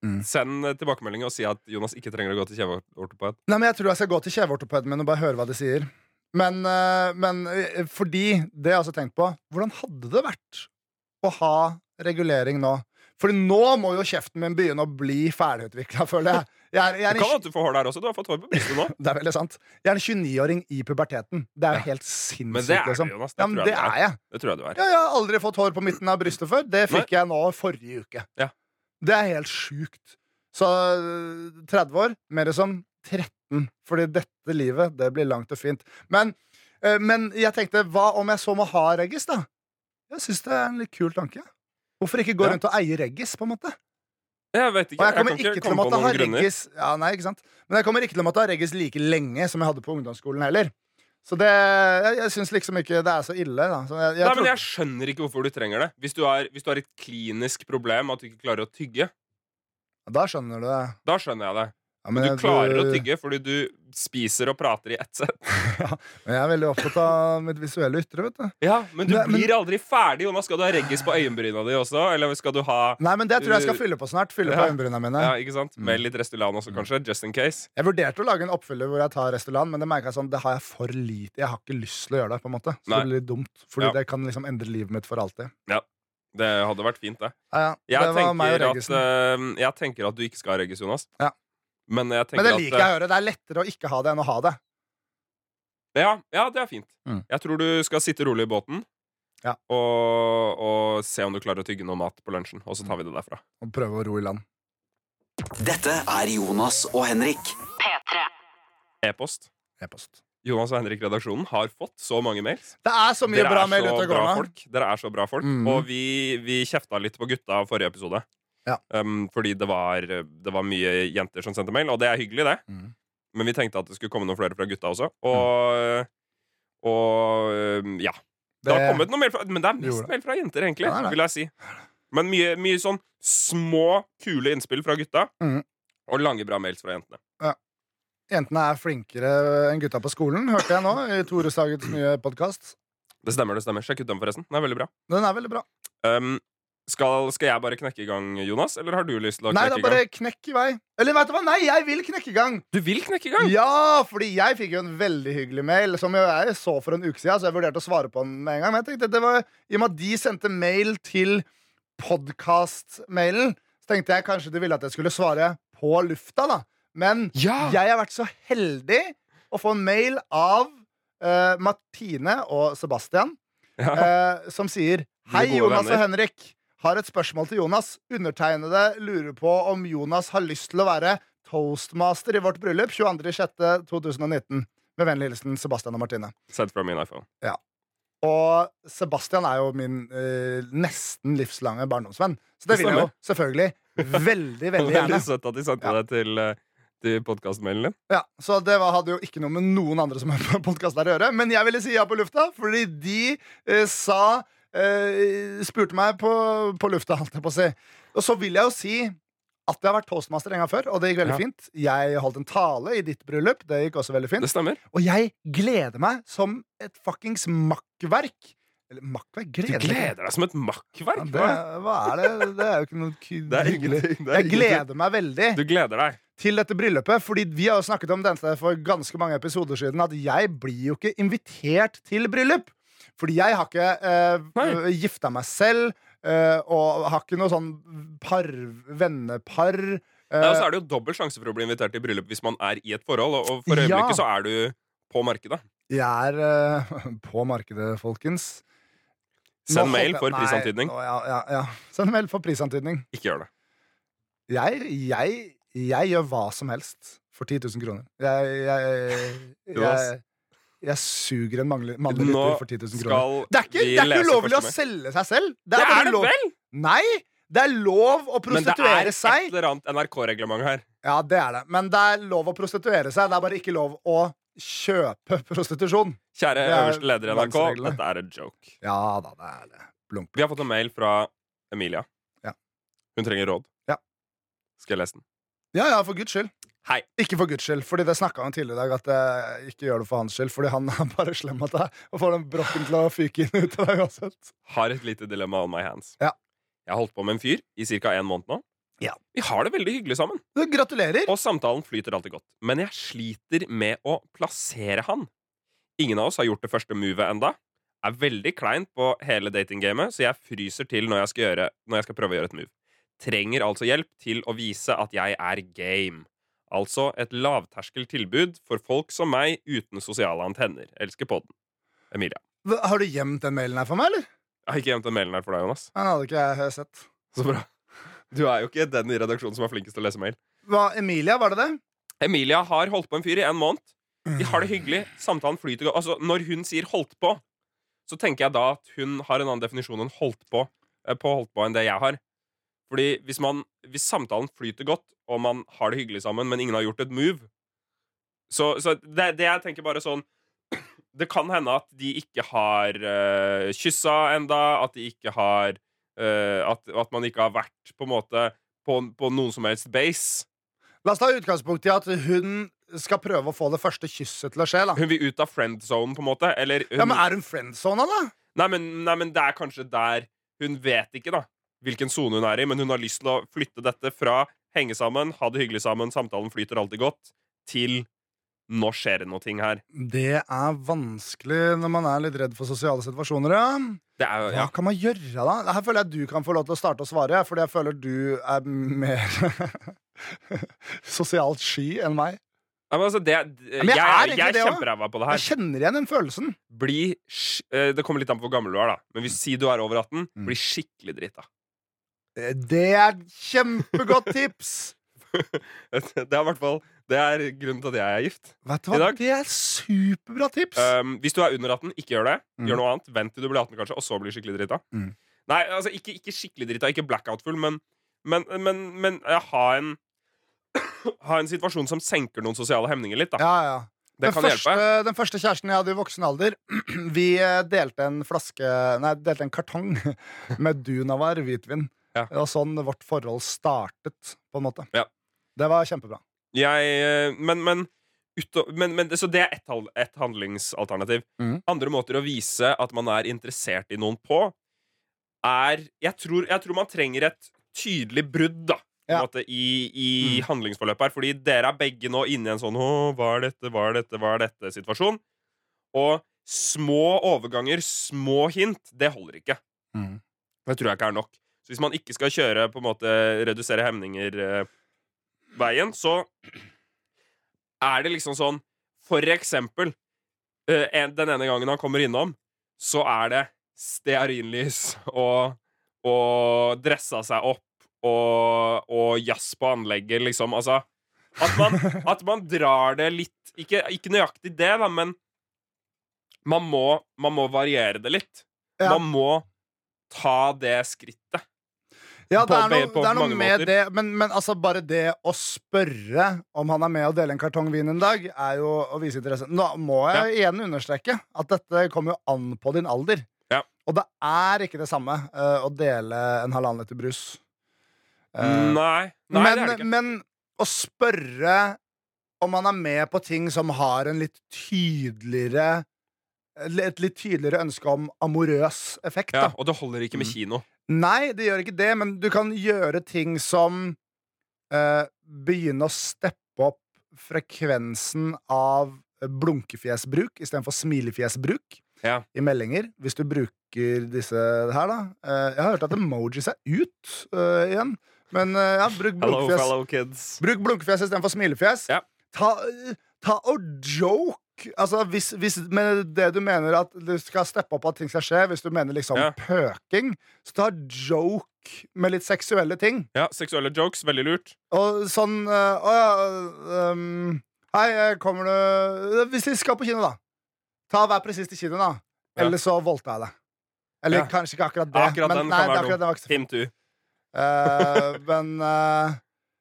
C: Mm.
B: send eh, tilbakemelding og si at Jonas ikke trenger å gå til kjeveortoped.
C: Nei, men Jeg tror jeg skal gå til kjeveortopeden min og bare høre hva de sier. Men, eh, men eh, fordi Det har jeg også tenkt på. Hvordan hadde det vært å ha regulering nå? Fordi nå må jo kjeften min begynne å bli ferdigutvikla, føler jeg. Jeg er, jeg
B: Det
C: er
B: kan
C: en,
B: være at du får hår der også. Du har fått hår på brystet nå.
C: det er veldig sant. Jeg er en 29-åring i puberteten. Det er jo
B: Ja.
C: helt sinnssykt,
B: Men det er du,
C: liksom.
B: Jonas. Det tror
C: Ja, men
B: jeg
C: det
B: du er.
C: er jeg.
B: Det tror jeg du er.
C: Ja, jeg har aldri fått hår på midten av brystet før. Det fikk jeg nå forrige uke.
B: Ja.
C: Det er helt sjukt. Så øh, 30 år, mer som 13. Fordi dette livet, det blir langt og fint. Men, øh, men jeg tenkte, hva om jeg så må ha reggis, da? Jeg syns det er en litt kul tanke. Hvorfor ikke gå
B: Ja.
C: rundt og eie reggis, på en måte?
B: Jeg vet
C: Og
B: ikke.
C: jeg
B: Jeg
C: kommer
B: kan
C: ikke
B: ikke
C: til å
B: komme på
C: måtte ha
B: noen grunner.
C: reggis ja, nei, ikke sant? Men jeg kommer ikke til å måtte ha reggis like lenge som jeg hadde på ungdomsskolen heller. Så det, jeg, jeg syns liksom ikke det er så ille, da. Så jeg, jeg
B: Nei,
C: tror-
B: men Jeg skjønner ikke hvorfor du trenger det. Hvis du, har, hvis du har et klinisk problem at du ikke klarer å tygge,
C: Da skjønner du det.
B: da skjønner jeg det.
C: Ja, men
B: Du
C: jeg-
B: klarer å tygge fordi du spiser og prater i ett sett.
C: Men jeg er veldig opptatt av mitt visuelle ytre, vet du.
B: Ja, Men du
C: Nei, men-
B: blir aldri ferdig, Jonas. Skal du ha reggis på øyenbryna di også? Eller skal du ha
C: Nei, men det tror jeg jeg skal fylle på snart. Fylle på
B: Uh, Ja.
C: øyenbryna mine.
B: ja, ikke sant?
C: Mm.
B: Med litt Restylan også, kanskje? Just in case.
C: Jeg vurderte å lage en oppfyller hvor jeg tar Restolan, men det merket jeg sånn, det har jeg for lite Jeg har ikke lyst til å gjøre det, på en måte. Så
B: Nei.
C: det blir litt dumt. Fordi
B: Ja.
C: det kan liksom endre livet mitt for alltid.
B: Det hadde vært fint, det.
C: Ja, ja.
B: Jeg,
C: det var meg og
B: tenker at,
C: Reggisen.
B: eh, jeg tenker at du ikke skal ha reggis, Jonas.
C: Ja.
B: Men jeg tenker
C: men det
B: at, uh,
C: liker jeg å høre. Det er lettere å ikke ha det enn å ha det.
B: eh, Ja, ja, det er fint.
C: Mm.
B: Jeg tror du skal sitte rolig i båten.
C: Ja.
B: Og, og se om du klarer å tygge noe mat på lunsjen. Og så tar vi det derfra.
C: Og prøve å ro i land.
A: Dette er Jonas og Henrik.
B: E-post.
C: E-post.
B: Jonas og Henrik-redaksjonen har fått så mange mails.
C: Det er så mye
B: Dere
C: bra
B: er
C: mail
B: så
C: ute og
B: bra
C: går nå.
B: folk. Dere er så bra folk.
C: Mhm.
B: Og vi, vi kjefta litt på gutta forrige episode.
C: Ja.
B: Um, fordi det var, det var mye jenter som sendte mail, og det er hyggelig, det.
C: Mhm.
B: Men vi tenkte at det skulle komme noen flere fra gutta også.
C: Mm.
B: Og, og um, ja. Det har
C: Det-
B: kommet noe mail fra Men det er
C: Gjorde det.
B: mest mail fra jenter, egentlig.
C: Ja, det er det.
B: vil jeg si Men mye, mye sånn små, kule innspill fra gutta.
C: Mhm.
B: Og lange, bra mails fra jentene.
C: Jentene er flinkere enn gutta på skolen, hørte jeg nå i Tore Sagets nye podkast.
B: Det stemmer, det stemmer. Sjekk ut den, forresten. Den er veldig bra.
C: Den er veldig bra.
B: Um, skal, skal jeg bare knekke i gang, Jonas? Eller har du lyst til å
C: Nei,
B: knekke i
C: da
B: gang?
C: bare knekk i vei. Eller vet du hva, nei, jeg vil knekke i gang!
B: Du vil knekke i gang?
C: Ja, fordi jeg fikk jo en veldig hyggelig mail, som jo jeg så for en uke siden, så jeg vurderte å svare på den med en gang. Men jeg tenkte, det var, i og med at de sendte mail til podkast-mailen, så tenkte jeg kanskje de ville at jeg skulle svare på lufta, da. Men
B: Ja!
C: jeg har vært så heldig å få en mail av eh, Martine og Sebastian,
B: Ja.
C: eh, som sier Hei,
B: gode
C: Jonas
B: venner.
C: og Henrik. Har et spørsmål til Jonas. Undertegnede lurer på om Jonas har lyst til å være toastmaster i vårt bryllup 22.06.2019. Med vennlig hilsen Sebastian og Martine.
B: Sett fra min iPhone.
C: Og Sebastian er jo min eh, nesten livslange barndomsvenn. Så
B: Det
C: det vil jeg jo selvfølgelig veldig, veldig gjerne.
B: Veldig søtt at de sendte
C: Ja.
B: deg til, eh, til podkastmailen din.
C: Ja, Så det var, hadde jo ikke noe med noen andre som er på podkasten her å gjøre. Men jeg ville si ja på lufta, fordi de eh, sa eh, spurte meg på, på lufta, holdt jeg på å si. Og så vil jeg jo si at jeg har vært toastmaster en gang før, og det gikk veldig
B: Ja.
C: fint. Jeg holdt en tale i ditt bryllup, det gikk også veldig
B: Det
C: fint.
B: stemmer.
C: Og jeg gleder meg som et fuckings makkverk. Eller makkverk?
B: Du
C: Gleder meg.
B: gleder deg som et makkverk.
C: Ja, det,
B: hva?
C: hva er det? Det er jo ikke noe ku-
B: Det er ingenting. det er
C: Jeg
B: ingenting.
C: gleder meg veldig
B: Du gleder deg.
C: til dette bryllupet, fordi vi har jo snakket om dette for ganske mange episoder siden, at jeg blir jo ikke invitert til bryllup. Fordi jeg har ikke eh,
B: Nei.
C: gifta meg selv, eh, og har ikke noe sånn par, vennepar. eh,
B: Nei, og så er det jo dobbel sjanse for å bli invitert til bryllup hvis man er i et forhold, og- og for
C: Ja.
B: øyeblikket så er du på markedet.
C: jeg er eh, på markedet, folkens. Nå
B: Send
C: håper
B: mail
C: jeg-
B: for
C: Nei,
B: prisantydning.
C: å, ja, ja, ja. Send mail for prisantydning.
B: Ikke gjør det.
C: Jeg, jeg, jeg gjør hva som helst for 10 000 kroner. Jeg, jeg, jeg, jeg,
B: Jonas.
C: jeg suger en mannlig mannlig
B: Nå
C: lytter for 10 000
B: Skal
C: kroner. Det er ikke,
B: vi
C: det er ikke
B: lese
C: ulovlig å
B: første mail?
C: selge seg selv.
B: Det
C: bare
B: er det
C: lov...
B: vel!
C: Nei! Det er lov å
B: Men det
C: prostituere
B: er et
C: seg.
B: eller annet NRK-reglement her.
C: Ja, det er det. Men det er lov å prostituere seg. Det er bare ikke lov å kjøpe prostitusjon.
B: Kjære
C: Det er
B: øverste leder i NRK,
C: landsreglene.
B: dette er en joke.
C: Ja da, det er det. Blunk.
B: Vi har fått en mail fra Emilia.
C: Ja.
B: Hun trenger råd.
C: Ja.
B: Skal jeg lese den?
C: Ja, ja, for guds skyld.
B: Hei.
C: Ikke for guds skyld, fordi det snakka han tidligere i dag. At jeg ikke gjør det for hans skyld, fordi han er bare slem mot deg og får den brokken til å fyke inn ut av deg uansett.
B: Har et lite dilemma on my hands.
C: Ja.
B: Jeg har holdt på med en fyr i ca. en måned nå.
C: Ja.
B: Vi har det veldig hyggelig sammen,
C: Du, Gratulerer.
B: og samtalen flyter alltid godt. Men jeg sliter med å plassere han. Ingen av oss har gjort det første movet enda. Er veldig kleint på hele datinggamet, så jeg fryser til når jeg, skal gjøre, når jeg skal prøve å gjøre et move. Trenger altså hjelp til å vise at jeg er game. Altså et lavterskeltilbud for folk som meg uten sosiale antenner. Elsker podden. Emilia.
C: Hva- Har du gjemt den mailen her for meg, eller?
B: Jeg har ikke gjemt den mailen her for deg, Jonas.
C: Den hadde ikke jeg sett.
B: Så bra. Du er jo ikke den i redaksjonen som er flinkest til å lese mail.
C: Hva, Emilia, var det det?
B: Emilia har holdt på en fyr i en måned. De har det hyggelig. Samtalen flyter godt. Altså, når hun sier 'holdt på', så tenker jeg da at hun har en annen definisjon enn 'holdt på' eh, på holdt på enn det jeg har. Fordi hvis, man, hvis samtalen flyter godt, og man har det hyggelig sammen, men ingen har gjort et move Så, så det, det jeg tenker bare sånn Det kan hende at de ikke har uh, kyssa enda, at de ikke har eh, at, at man ikke har vært på en måte på, på noen som helst base.
C: La oss ta utgangspunkt i at hun skal prøve å få det første kysset til å skje. da
B: Hun vil ut av friend zone, på en måte. Eller hun,
C: Ja, men Er hun friendzona, da?
B: nei, men, nei, men det er kanskje der Hun vet ikke da hvilken sone hun er i, men hun har lyst til å flytte dette fra henge sammen, ha det hyggelig sammen, samtalen flyter alltid godt, til nå skjer det noe ting her.
C: Det er vanskelig når man er litt redd for sosiale situasjoner. ja
B: Det er jo
C: Hva
B: ja.
C: kan man gjøre, da? Her føler jeg at du kan få lov til å starte å svare, fordi jeg føler du er mer sosialt sky enn meg.
B: Nei, men altså, det,
C: jeg
B: Jeg,
C: er
B: jeg,
C: egentlig
B: er
C: det også.
B: kjemperæva på det
C: Jeg
B: her.
C: kjenner igjen den følelsen.
B: Bli sj- eh, Det kommer litt an på hvor gammel du er, da. Men hvis si du er over 18,
C: Mm.
B: bli skikkelig drita.
C: Eh, Det er et kjempegodt tips!
B: Det er i hvert fall Det er grunnen til at jeg er gift.
C: Vet du
B: I
C: hva?
B: dag?
C: Det er superbra tips!
B: Um, hvis du er under 18, ikke gjør det.
C: Mm.
B: Gjør noe annet. Vent til du blir 18, kanskje, og så blir skikkelig drita.
C: Mm.
B: Nei, altså, ikke, ikke skikkelig drita, ikke blackout-full, men, men, men, men ja, ha en Ha en situasjon som senker noen sosiale hemninger litt. da
C: Ja, ja.
B: Det
C: Den
B: kan
C: første,
B: hjelpe.
C: den første kjæresten jeg hadde i voksen alder, vi eh, delte en flaske Nei, delte en kartong med Dunavar hvitvin.
B: Ja.
C: Det var sånn vårt forhold startet, på en måte.
B: Ja.
C: Det var kjempebra.
B: Jeg, eh, men, men, utå- men, men Så det er ett et handlingsalternativ.
C: Mhm.
B: Andre måter å vise at man er interessert i noen på, er Jeg tror, jeg tror man trenger et tydelig brudd, da. på en
C: Ja.
B: Måte, I i handlingsforløpet her. Fordi dere er begge nå inne i en sånn Å, hva er dette, hva er dette, hva er dette-situasjon. Og små overganger, små hint, det holder ikke.
C: Mhm.
B: Det tror jeg ikke er nok. Så hvis man ikke skal kjøre på en måte redusere hemninger eh, veien, så er det liksom sånn For eksempel eh, en, den ene gangen han kommer innom, så er det stearinlys og, og dressa seg opp og, og jazz på anlegget, liksom. Altså at man, at man drar det litt ikke, ikke nøyaktig det, da, men man må, man må variere det litt.
C: Ja.
B: Man må ta det skrittet.
C: Ja, det
B: På-
C: er noe,
B: på
C: det er noe
B: mange
C: med
B: måter.
C: det, men, men altså bare det å spørre om han er med og dele en kartong vin en dag, er jo å vise interesse. Nå må jeg igjen understreke at dette kommer jo an på din alder.
B: Ja.
C: Og det er ikke det samme eh, å dele en halvannen liter brus. Eh,
B: Nei, nei
C: men,
B: det er det ikke.
C: men å spørre om man er med på ting som har en litt tydeligere et litt tydeligere ønske om amorøs effekt.
B: Ja,
C: Da. Mm.
B: og det holder ikke med kino.
C: Nei, det gjør ikke det, men du kan gjøre ting som eh, Begynne å steppe opp frekvensen av blunkefjesbruk istedenfor smilefjesbruk
B: Ja.
C: i meldinger. Hvis du bruker disse her, da. Eh, jeg har hørt at emojis er ut eh, igjen. Men eh, ja, bruk
B: Hello,
C: blunkefjes.
B: fellow kids.
C: Bruk blunkefjes istedenfor smilefjes.
B: Ja.
C: Ta, ta og joke. Altså, hvis, hvis med det du mener at du skal steppe opp at ting skal skje, hvis du mener liksom
B: Ja.
C: pøking, så ta joke med litt seksuelle ting.
B: Ja, Seksuelle jokes, veldig lurt.
C: Og sånn eh, Å ja ehm, Hei, eh, kommer du eh, Hvis vi skal på kino, da. Ta Vær presis til kinoen, da.
B: Ja.
C: Eller så voldta jeg deg. Eller
B: Ja.
C: kanskje ikke akkurat det.
B: Akkurat den kan
C: nei,
B: være
C: det- akkurat den var ikke så
B: Him too.
C: Eh, men eh,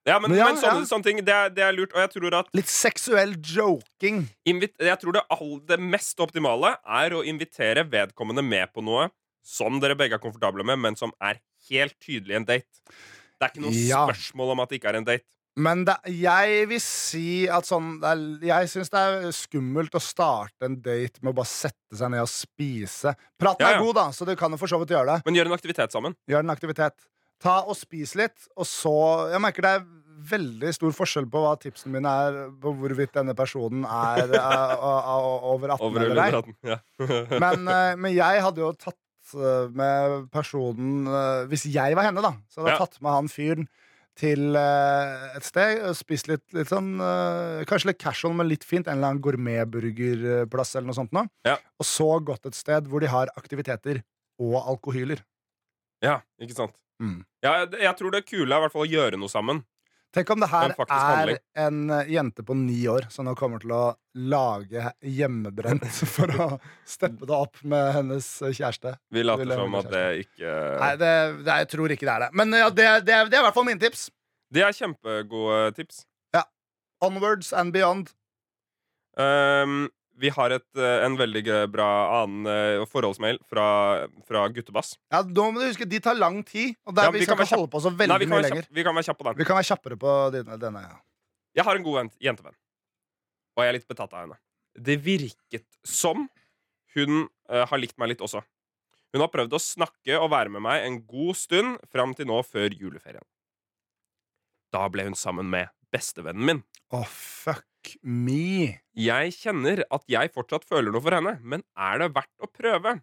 B: Ja, men,
C: Men ja,
B: men sånne,
C: ja.
B: sånne ting, det er, det er lurt. Og jeg tror at
C: litt seksuell joking.
B: invit Jeg tror det, all, det mest optimale er å invitere vedkommende med på noe som dere begge er komfortable med, men som er helt tydelig en date. Det er ikke noe
C: Ja.
B: spørsmål om at det ikke er en date.
C: Men det, jeg vil si at sånn det er, Jeg syns det er skummelt å starte en date med å bare sette seg ned og spise. Praten
B: Ja, ja.
C: er god, da, så du kan jo for så vidt gjøre det.
B: Men gjør en aktivitet sammen.
C: Gjør en aktivitet. Ta og spis litt, og så Jeg merker det er veldig stor forskjell på hva tipsene mine er, på hvorvidt denne personen er eh, o- o- over 18
B: Over
C: eller ei.
B: under 18. Ja.
C: Men, eh, men jeg hadde jo tatt eh, med personen eh, Hvis jeg var henne, da, så hadde jeg
B: Ja.
C: tatt med han fyren til eh, et sted. og Spist litt, litt sånn eh, Kanskje litt casual, men litt fint. En eller annen gourmetburgerplass eller noe sånt. Nå.
B: Ja.
C: Og så gått et sted hvor de har aktiviteter og alkohyler.
B: ja, ikke sant.
C: Mm.
B: Ja, det- jeg tror det kule er i hvert fall å gjøre noe sammen.
C: Tenk om det her
B: En faktisk
C: er
B: handling.
C: en eh, jente på ni år som nå kommer til å lage hjemmebrent for å steppe det opp med hennes eh, kjæreste.
B: Vi later
C: Vil jeg
B: som
C: være
B: at det ikke
C: Nei, det, det, jeg tror ikke det er det. Men ja, det, det, er- det er i hvert fall mine tips.
B: Det er kjempegode tips.
C: Onwards and beyond.
B: Ehm, vi har et, eh, en veldig gøy- bra annen eh, forholdsmail fra, fra Guttebass.
C: Ja, nå må du huske, De tar lang tid, og der,
B: Ja,
C: vi,
B: vi
C: skal
B: kan
C: ikke
B: være
C: holde på så veldig
B: Nei, vi kan,
C: mye
B: være
C: lenger.
B: kjapp, vi kan være kjappe på den.
C: Vi kan være kjappere på dine- denne. Ja.
B: Jeg har en god ven- jentevenn, og jeg er litt betatt av henne. Det virket som hun eh, har likt meg litt også. Hun har prøvd å snakke og være med meg en god stund fram til nå før juleferien. Da ble hun sammen med bestevennen min.
C: Å, fuck me.
B: Jeg kjenner at jeg fortsatt føler noe for henne, men er det verdt å prøve?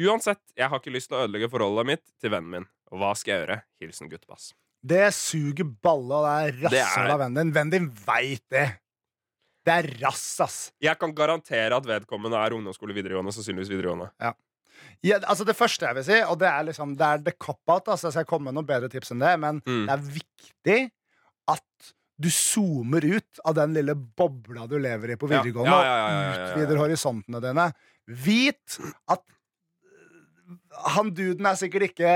B: Uansett, jeg har ikke lyst til å ødelegge forholdet mitt til vennen min. Hva skal jeg gjøre? Hilsen guttebass.
C: Det suger balle, og det er
B: Det
C: rasshøl
B: er-
C: av vennen din. Vennen din veit det. Det er rass, ass.
B: Jeg kan garantere at vedkommende er ungdomsskole videregående, sannsynligvis videregående.
C: Ja, altså Det første jeg vil si, og det er liksom Det er the cop-out, altså jeg skal komme med noen bedre tips enn det, men
B: Mm.
C: det er viktig at du zoomer ut av den lille bobla du lever i på
B: Ja.
C: videregående,
B: Ja, ja, ja, ja, ja, ja.
C: og utvider horisontene dine. Vit at han duden er sikkert ikke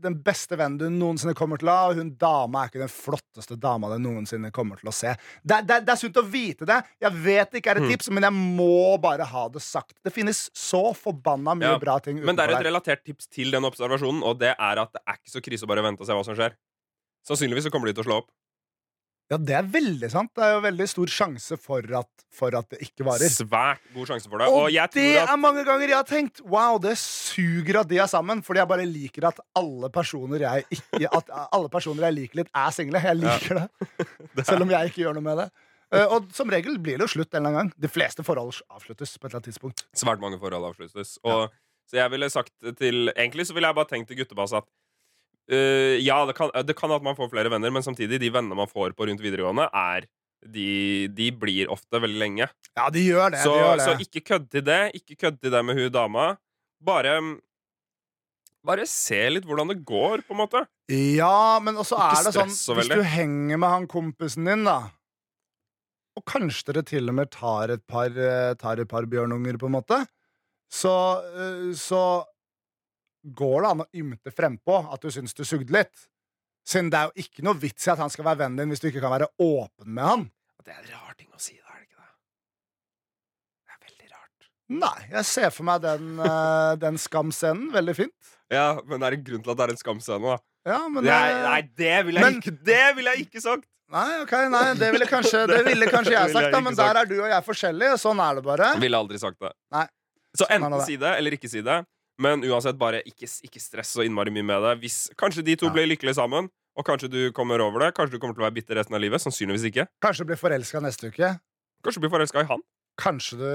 C: den beste vennen du noensinne kommer til å ha, og hun dama er ikke den flotteste dama du noensinne kommer til å se. Det, er- det, er- det er sunt å vite det. Jeg vet det ikke
B: Mm.
C: er et tips, men jeg må bare ha det sagt. Det finnes så forbanna mye
B: Ja,
C: bra ting
B: Men det er
C: utenfor
B: et
C: der.
B: relatert tips til den observasjonen, og det er at det er ikke så krise å bare vente og se hva som skjer. Sannsynligvis så kommer de til å slå opp.
C: Ja, det er veldig sant. Det er jo veldig stor sjanse for at, for at det ikke varer.
B: Svært god sjanse for det.
C: Og,
B: Og jeg tror
C: det
B: at
C: er mange ganger jeg har tenkt Wow, det suger at de er sammen. Fordi jeg bare liker at alle personer jeg, ikke, at alle personer jeg liker litt, er single. Jeg liker det. Selv om jeg ikke gjør noe med det. Eh, og som regel blir det jo slutt en eller annen gang. De fleste forhold avsluttes på et eller annet tidspunkt.
B: svært mange forhold avsluttes. Og, Så jeg ville sagt til Egentlig så ville jeg bare tenkt til guttebass at øh, ja, det kan, det kan at man får flere venner, men samtidig, de vennene man får på rundt videregående, er de, de blir ofte veldig lenge.
C: Ja, de gjør det.
B: så,
C: de gjør det.
B: så ikke kødd til det. Ikke kødd til det med hun dama. Bare Bare se litt hvordan det går, på en måte.
C: Ja, men også
B: Ikke
C: er det sånn
B: stress så
C: Hvis
B: veldig.
C: du henger med han kompisen din, da Og kanskje dere til og med tar et par, eh, tar et par bjørnunger, på en måte Så, eh, så går det an å ymte frempå at du syns du sugde litt. Siden det er jo ikke noe vits i at han skal være vennen din hvis du ikke kan være åpen med han.
B: Det er en rar ting å si, da, er det ikke det? Det er veldig rart.
C: Nei, jeg ser for meg den, eh, den skamscenen. Veldig fint.
B: Ja, Men det er en grunn til at det er en skamscene. da
C: Ja, men
B: Nei,
C: eh,
B: nei, det ville jeg
C: Men-
B: ikke Det ville jeg ikke sagt!
C: Nei, ok, nei, det ville kanskje, det ville kanskje
B: Det
C: jeg
B: ville
C: sagt,
B: jeg
C: da,
B: ikke
C: men
B: sagt.
C: der er du og jeg forskjellige. Sånn er det bare.
B: Ville aldri sagt det.
C: Nei.
B: Så
C: er
B: enten
C: det.
B: si det, eller ikke si det. Men uansett, bare ikke, ikke stress så innmari mye med det. Hvis, kanskje de to
C: Ja.
B: blir lykkelige sammen, og kanskje du kommer over det. Kanskje du kommer til å være bitter resten av livet. Sannsynligvis ikke.
C: Kanskje du blir forelska neste uke.
B: Kanskje du blir forelska i han.
C: Kanskje du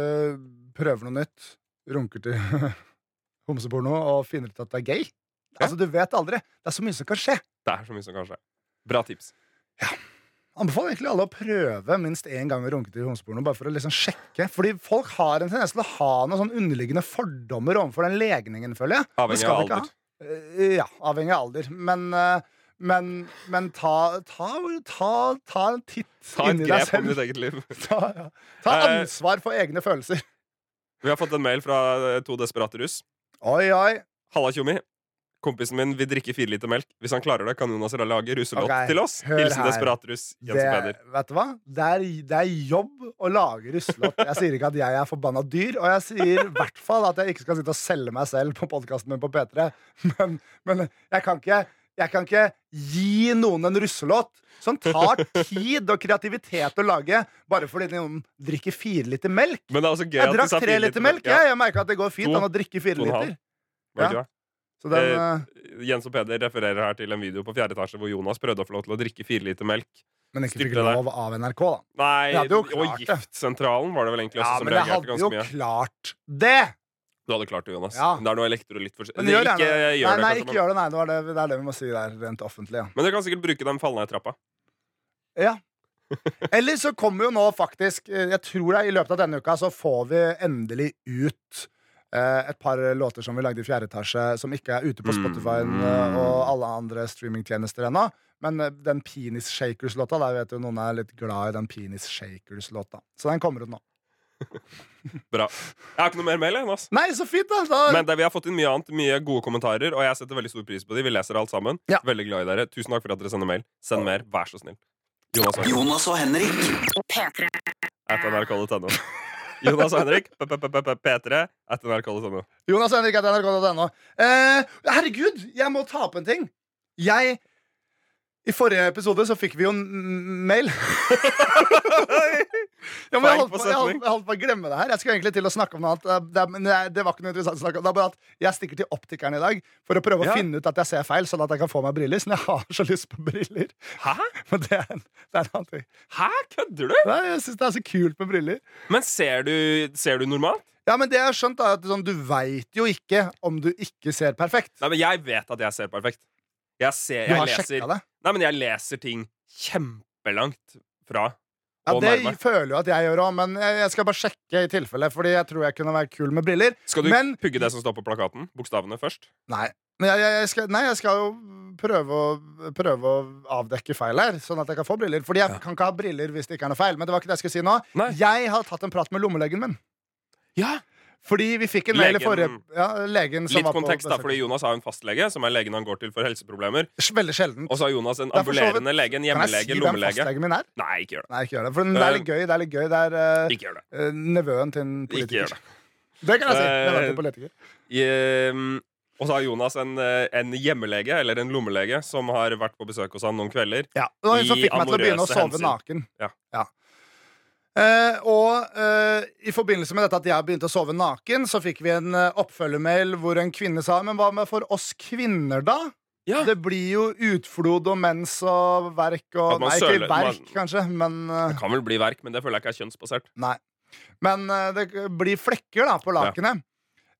C: prøver noe nytt. Runker til homseporno og finner ut at det er gay.
B: Ja.
C: Altså, Du vet aldri. Det er så mye som kan skje.
B: Det er så mye som kan skje. Bra tips.
C: Anbefaler egentlig alle å prøve minst én gang å runke til homseporno. Bare for å liksom sjekke Fordi folk har en tendens til å ha noen sånn underliggende fordommer overfor den legningen, føler jeg. Det
B: Avhengig
C: skal
B: av
C: vi ikke
B: alder.
C: ha. Eh, Ja, avhengig av alder. Men, eh, men, men ta, ta, ta, ta en titt
B: Ta et
C: inni deg
B: grep om
C: selv.
B: ditt eget liv.
C: Ta, ja. ta
B: Eh.
C: ansvar for egne følelser.
B: Vi har fått en mail fra eh, to desperate russ.
C: Oi, oi.
B: Halla, tjommi. Kompisen min vil drikke fire liter melk. Hvis han klarer det, kan Jonas lage russelåt
C: Ok,
B: til oss.
C: hør
B: Hilsen
C: her.
B: desperat russ Jens
C: Det,
B: Peder.
C: vet du hva? Det er, det er jobb å lage russelåt. Jeg sier ikke at jeg er forbanna dyr, og jeg sier i hvert fall at jeg ikke skal sitte og selge meg selv på podkasten min på P3, men, men jeg, kan ikke, jeg kan ikke gi noen en russelåt som tar tid og kreativitet å lage bare fordi noen drikker fire liter melk.
B: Men det er også gøy
C: Jeg
B: at du
C: drakk
B: sa
C: tre
B: fire
C: liter melk,
B: Ja,
C: jeg. Jeg merka at det går fint
B: To.
C: an å drikke fire
B: To og en halv.
C: liter.
B: var det
C: ja.
B: ikke det?
C: Så den,
B: Eh,
C: eh,
B: Jens og Peder refererer her til en video på fjerde etasje hvor Jonas prøvde å få lov til å drikke fire liter melk.
C: men ikke fikk
B: styrte deg.
C: lov av NRK, da.
B: Nei,
C: Ja, det er jo
B: og
C: klart det.
B: Giftsentralen var det vel egentlig
C: Ja,
B: også som
C: men jeg
B: reagerte
C: hadde
B: ganske
C: jo
B: mye.
C: klart det!
B: Du hadde klart det, Jonas.
C: Ja.
B: Det er noe elektrolytt for...
C: Men
B: Det-
C: gjør
B: ikke
C: gjerne det.
B: gjør
C: nei, nei,
B: det, kanskje,
C: ikke gjør det. Nei, det, var det, det er det vi må si der, rent offentlig. Ja.
B: men... men du kan sikkert bruke dem falle ned trappa.
C: Eller så kommer jo nå faktisk eh, Jeg tror det er i løpet av denne uka så får vi endelig ut eh, et par låter som vi lagde i fjerde etasje, som ikke er ute på
B: Mm.
C: Spotify eh, og alle andre streamingtjenester ennå. Men eh, den Penis Shakers-låta, der vet jo noen er litt glad i den Penis Shakers-låta. Så den kommer ut nå.
B: Bra. Jeg har ikke noe mer mail, jeg, Jonas.
C: Nei, så fint, da! da
B: Men det, vi har fått inn mye annet, mye gode kommentarer, og jeg setter veldig stor pris på de. Vi leser alt sammen.
C: Ja.
B: Veldig glad i dere. Tusen takk for at dere sender mail. Send mer, vær så snill. Jonas og
A: Jonas og Henrik.
B: at nrk.no. Jonas og Henrik, p- p- p- p- p3, at nrk.no.
C: Jonas og Henrik at nrk.no. Eh, herregud, jeg må ta opp en ting. Jeg I forrige episode så fikk vi jo en m- mail. ja,
B: Feil
C: men jeg, holdt på, jeg, holdt,
B: forsetning.
C: jeg holdt på å glemme det her. Jeg skulle egentlig til å snakke om noe annet. eh, Det, er- men det, er- det var ikke noe interessant å snakke om. Det er bare at jeg stikker til optikeren i dag for å prøve
B: Ja.
C: å finne ut at jeg ser feil, sånn at jeg kan få meg briller. Siden jeg har så lyst på briller.
B: Hæ?
C: Men det er en, det er en annen ting.
B: Hæ? Kødder du?
C: Nei, Jeg syns det er så kult med briller.
B: Men ser du, ser du normalt?
C: Ja, men det jeg har skjønt, er at sånn, du veit jo ikke om du ikke ser perfekt.
B: Nei, men jeg vet at jeg ser perfekt. Jeg ser,
C: Du
B: jeg
C: har
B: leser
C: sjekka det.
B: Nei, men jeg leser ting kjempelangt fra.
C: Ja,
B: og
C: Det
B: nærme.
C: føler jo at jeg gjør òg, men jeg jeg skal bare sjekke i tilfelle. Fordi jeg tror jeg kunne være kul med briller.
B: Skal du
C: Men-
B: pugge det som står på plakaten? Bokstavene først?
C: Nei, men jeg, jeg, jeg, skal, nei, jeg skal jo prøve å, prøve å avdekke feil her, sånn at jeg kan få briller. Fordi jeg kan ikke ha briller hvis det ikke er noe feil. Men det var ikke det jeg skulle si nå.
B: Nei.
C: Jeg har tatt en prat med lommelegen min.
B: Ja.
C: Fordi vi fikk en mail i
B: Legen.
C: forrige ja, legen som
B: Litt
C: var på
B: kontekst, da,
C: besøk.
B: fordi Jonas har jo en fastlege, som er legen han går til for helseproblemer.
C: Veldig sjelden.
B: Og så har Jonas en
C: Det er for så vidt-
B: ambulerende lege, en hjemmelege,
C: hvem
B: lommelege.
C: fastlegen min er?
B: Nei, ikke gjør det.
C: Nei, ikke gjør det. For det er litt gøy. Det er litt gøy Det er eh,
B: Ikke gjør det.
C: eh, nevøen til en
B: Ikke gjør
C: politiker.
B: det.
C: Det kan jeg si.
B: Eh,
C: Nevøen til en politiker.
B: Ehm, og så har Jonas en, eh, en hjemmelege, eller en lommelege, som har vært på besøk hos han noen kvelder.
C: Ja, det var hun som
B: I
C: fikk meg til å begynne å
B: amorøse
C: sove
B: hensyn.
C: naken.
B: Ja.
C: Eh, og eh, i forbindelse med dette at jeg begynte å sove naken, så fikk vi en eh, oppfølgermail hvor en kvinne sa Men hva med for oss kvinner, da?
B: Ja.
C: Det blir jo utflod og mens og verk
B: At
C: og
B: man
C: Nei, ikke
B: søler-
C: verk,
B: man-
C: kanskje, men eh,
B: Det kan vel bli verk, men det føler jeg ikke er kjønnsbasert.
C: Nei. Men eh, det blir flekker, da, på lakenet.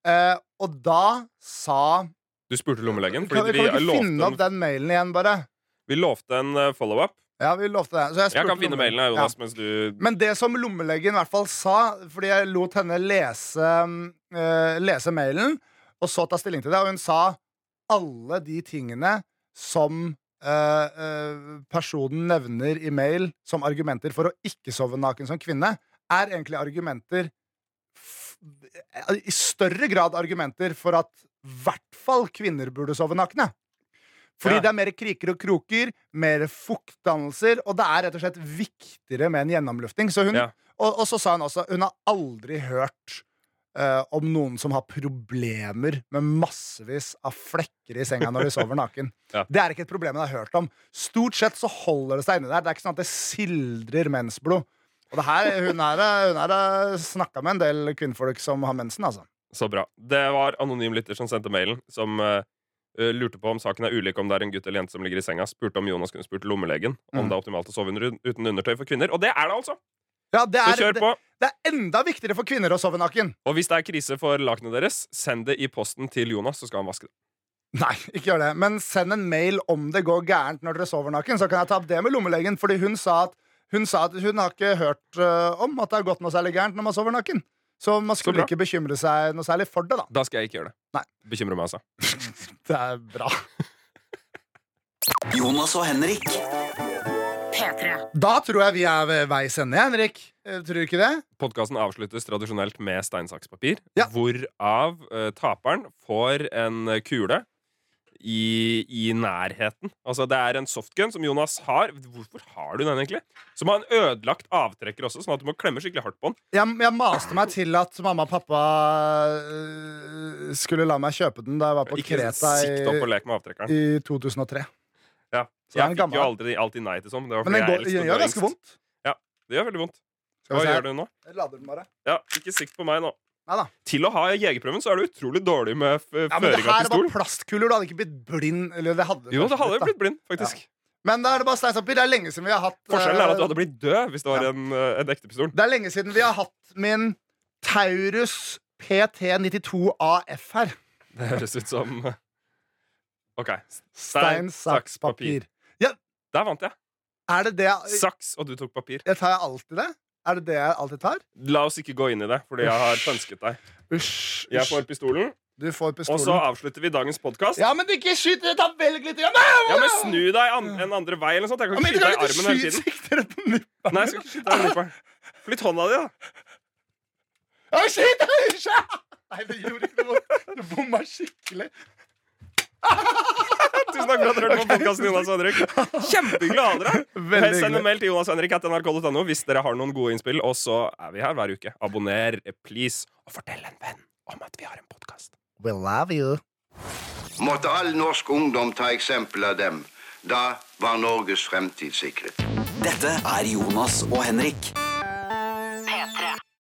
C: Eh, og da sa
B: Du spurte lommelegen,
C: Kan, kan
B: fordi
C: vi
B: vi
C: ikke finne
B: lovte
C: opp
B: en,
C: den mailen igjen, bare?
B: vi lovte en eh, follow-up.
C: Ja, vi lovte det. Så
B: Jeg
C: jeg, spurte
B: kan finne
C: noen-
B: mailen, jeg,
C: Ja.
B: Jonas, mens du
C: Men det som lommelegen i hvert fall sa, fordi jeg lot henne lese, eh, lese mailen, og så ta stilling til det, og hun sa alle de tingene som eh, eh, personen nevner i mail som argumenter for å ikke sove naken som kvinne, er egentlig argumenter f I større grad argumenter for at i hvert fall kvinner burde sove nakne. Fordi
B: Ja.
C: det er mer kriker og kroker, mer fuktdannelser, og det er rett og slett viktigere med en gjennomlufting. Så hun,
B: Ja.
C: og, og så sa hun også hun har aldri hørt eh, om noen som har problemer med massevis av flekker i senga når de sover naken.
B: Ja.
C: Det er ikke et problem jeg har hørt om. Stort sett så holder det seg inni der. Det er ikke sånn at det sildrer mensblod. Og det her, hun her hun her har snakka med en del kvinnfolk som har mensen, altså.
B: Så bra. Det var anonym lytter som sendte mailen, som eh, eh, lurte på om saken er ulik om det er en gutt eller jente som ligger i senga. Spurte om Jonas kunne spurt lommelegen om
C: Mm.
B: det er optimalt å sove under, uten undertøy for kvinner. Og det er det, altså!
C: Ja, det,
B: Så
C: er,
B: kjør
C: det,
B: på.
C: det er enda viktigere for kvinner å sove naken.
B: Og hvis det er krise for lakenet deres, send det i posten til Jonas, så skal han vaske det.
C: Nei, ikke gjør det. Men send en mail om det går gærent når dere sover naken. Så kan jeg ta opp det med lommelegen. Fordi hun sa at hun, sa at hun har ikke hørt øh, om at det har gått noe særlig gærent når man sover naken. Så man skulle
B: bra.
C: ikke bekymre seg noe særlig for det, da.
B: Da skal jeg ikke gjøre det.
C: Nei.
B: Bekymrer meg, altså.
C: Det er bra.
A: Jonas og Henrik.
D: P3.
C: Da tror jeg vi er ved veis ende, Henrik. Eh, Tror du ikke det?
B: Podkasten avsluttes tradisjonelt med stein, saks, papir,
C: Ja.
B: hvorav eh, taperen får en eh, kule i, i nærheten. Altså, det er en softgun som Jonas har. Hvorfor har du den, egentlig? Som har en ødelagt avtrekker også, sånn at du må klemme skikkelig hardt på den.
C: Jeg, jeg maste meg til at mamma og pappa øh, skulle la meg kjøpe den da jeg var på
B: Ikke
C: Kreta
B: sikt opp og
C: i,
B: lek med avtrekkeren.
C: i 2003.
B: Ja.
C: Så den er
B: Jeg fikk
C: gammel.
B: jo aldri, alltid nei til sånn. Det, var
C: Men den,
B: fordi jeg elsket
C: går, den
B: å
C: gjør
B: dra
C: ganske
B: yngst.
C: vondt.
B: Det gjør veldig vondt.
C: Skal
B: Hva
C: vi se.
B: gjør du nå?
C: Jeg lader den bare.
B: Ja, ikke sikt på meg nå.
C: Neida.
B: Til å ha jegerprøven så er du utrolig dårlig med f
C: Ja, men
B: føring av
C: det her var
B: pistol.
C: plastkuler. Du hadde ikke blitt blind. Eller det hadde du
B: Jo,
C: kanskje
B: det hadde jo
C: da.
B: blitt blind, faktisk.
C: Men da er det bare stein, papir. Det er lenge siden vi har hatt
B: Forskjellen er at du
C: eh,
B: hadde blitt død hvis det var
C: Ja.
B: en, eh, en ekte pistol.
C: Det er lenge siden vi har hatt min Taurus PT92 AF her.
B: Det høres ut som eh, OK.
C: Stein, saks, papir.
B: Der vant jeg.
C: Er det det jeg,
B: Saks, og du tok papir.
C: jeg Tar jeg alltid det? Er det det jeg alltid tar?
B: La oss ikke gå inn i det, fordi jeg har pønsket deg.
C: Usj.
B: Jeg
C: usj.
B: får pistolen,
C: Du får
B: og så
C: pistolen.
B: avslutter vi dagens podkast.
C: Ja, men ikke skyt! det, Ta velg litt! Ja, nei,
B: Ja, men snu deg an en andre vei eller noe sånt. Jeg
C: Ja,
B: kan
C: men
B: ikke
C: du
B: skyte
C: kan
B: deg i
C: ikke
B: armen hele tiden.
C: skyte sikte deg på nipperen.
B: Nei, jeg skal ikke skyte deg i nipperen. Flytt hånda di, da.
C: Ja, skyt! Usj! Nei, det gjorde ikke noe vondt. Du bomma skikkelig.
B: Tusen takk for at du hørte på podkasten Jonas og Henrik. Kjempehyggelig å ha dere her.
C: Veldig
B: Send
C: hyggelig.
B: en mail til Jonas og Henrik at nrk.no hvis dere har noen gode innspill. Og så er vi her hver uke. Abonner, please. Og fortell en venn om at vi har en podkast.
C: We love you.
H: Måtte all norsk ungdom ta eksempel av dem. Da var Norges fremtid sikret.
A: Dette er Jonas og Henrik.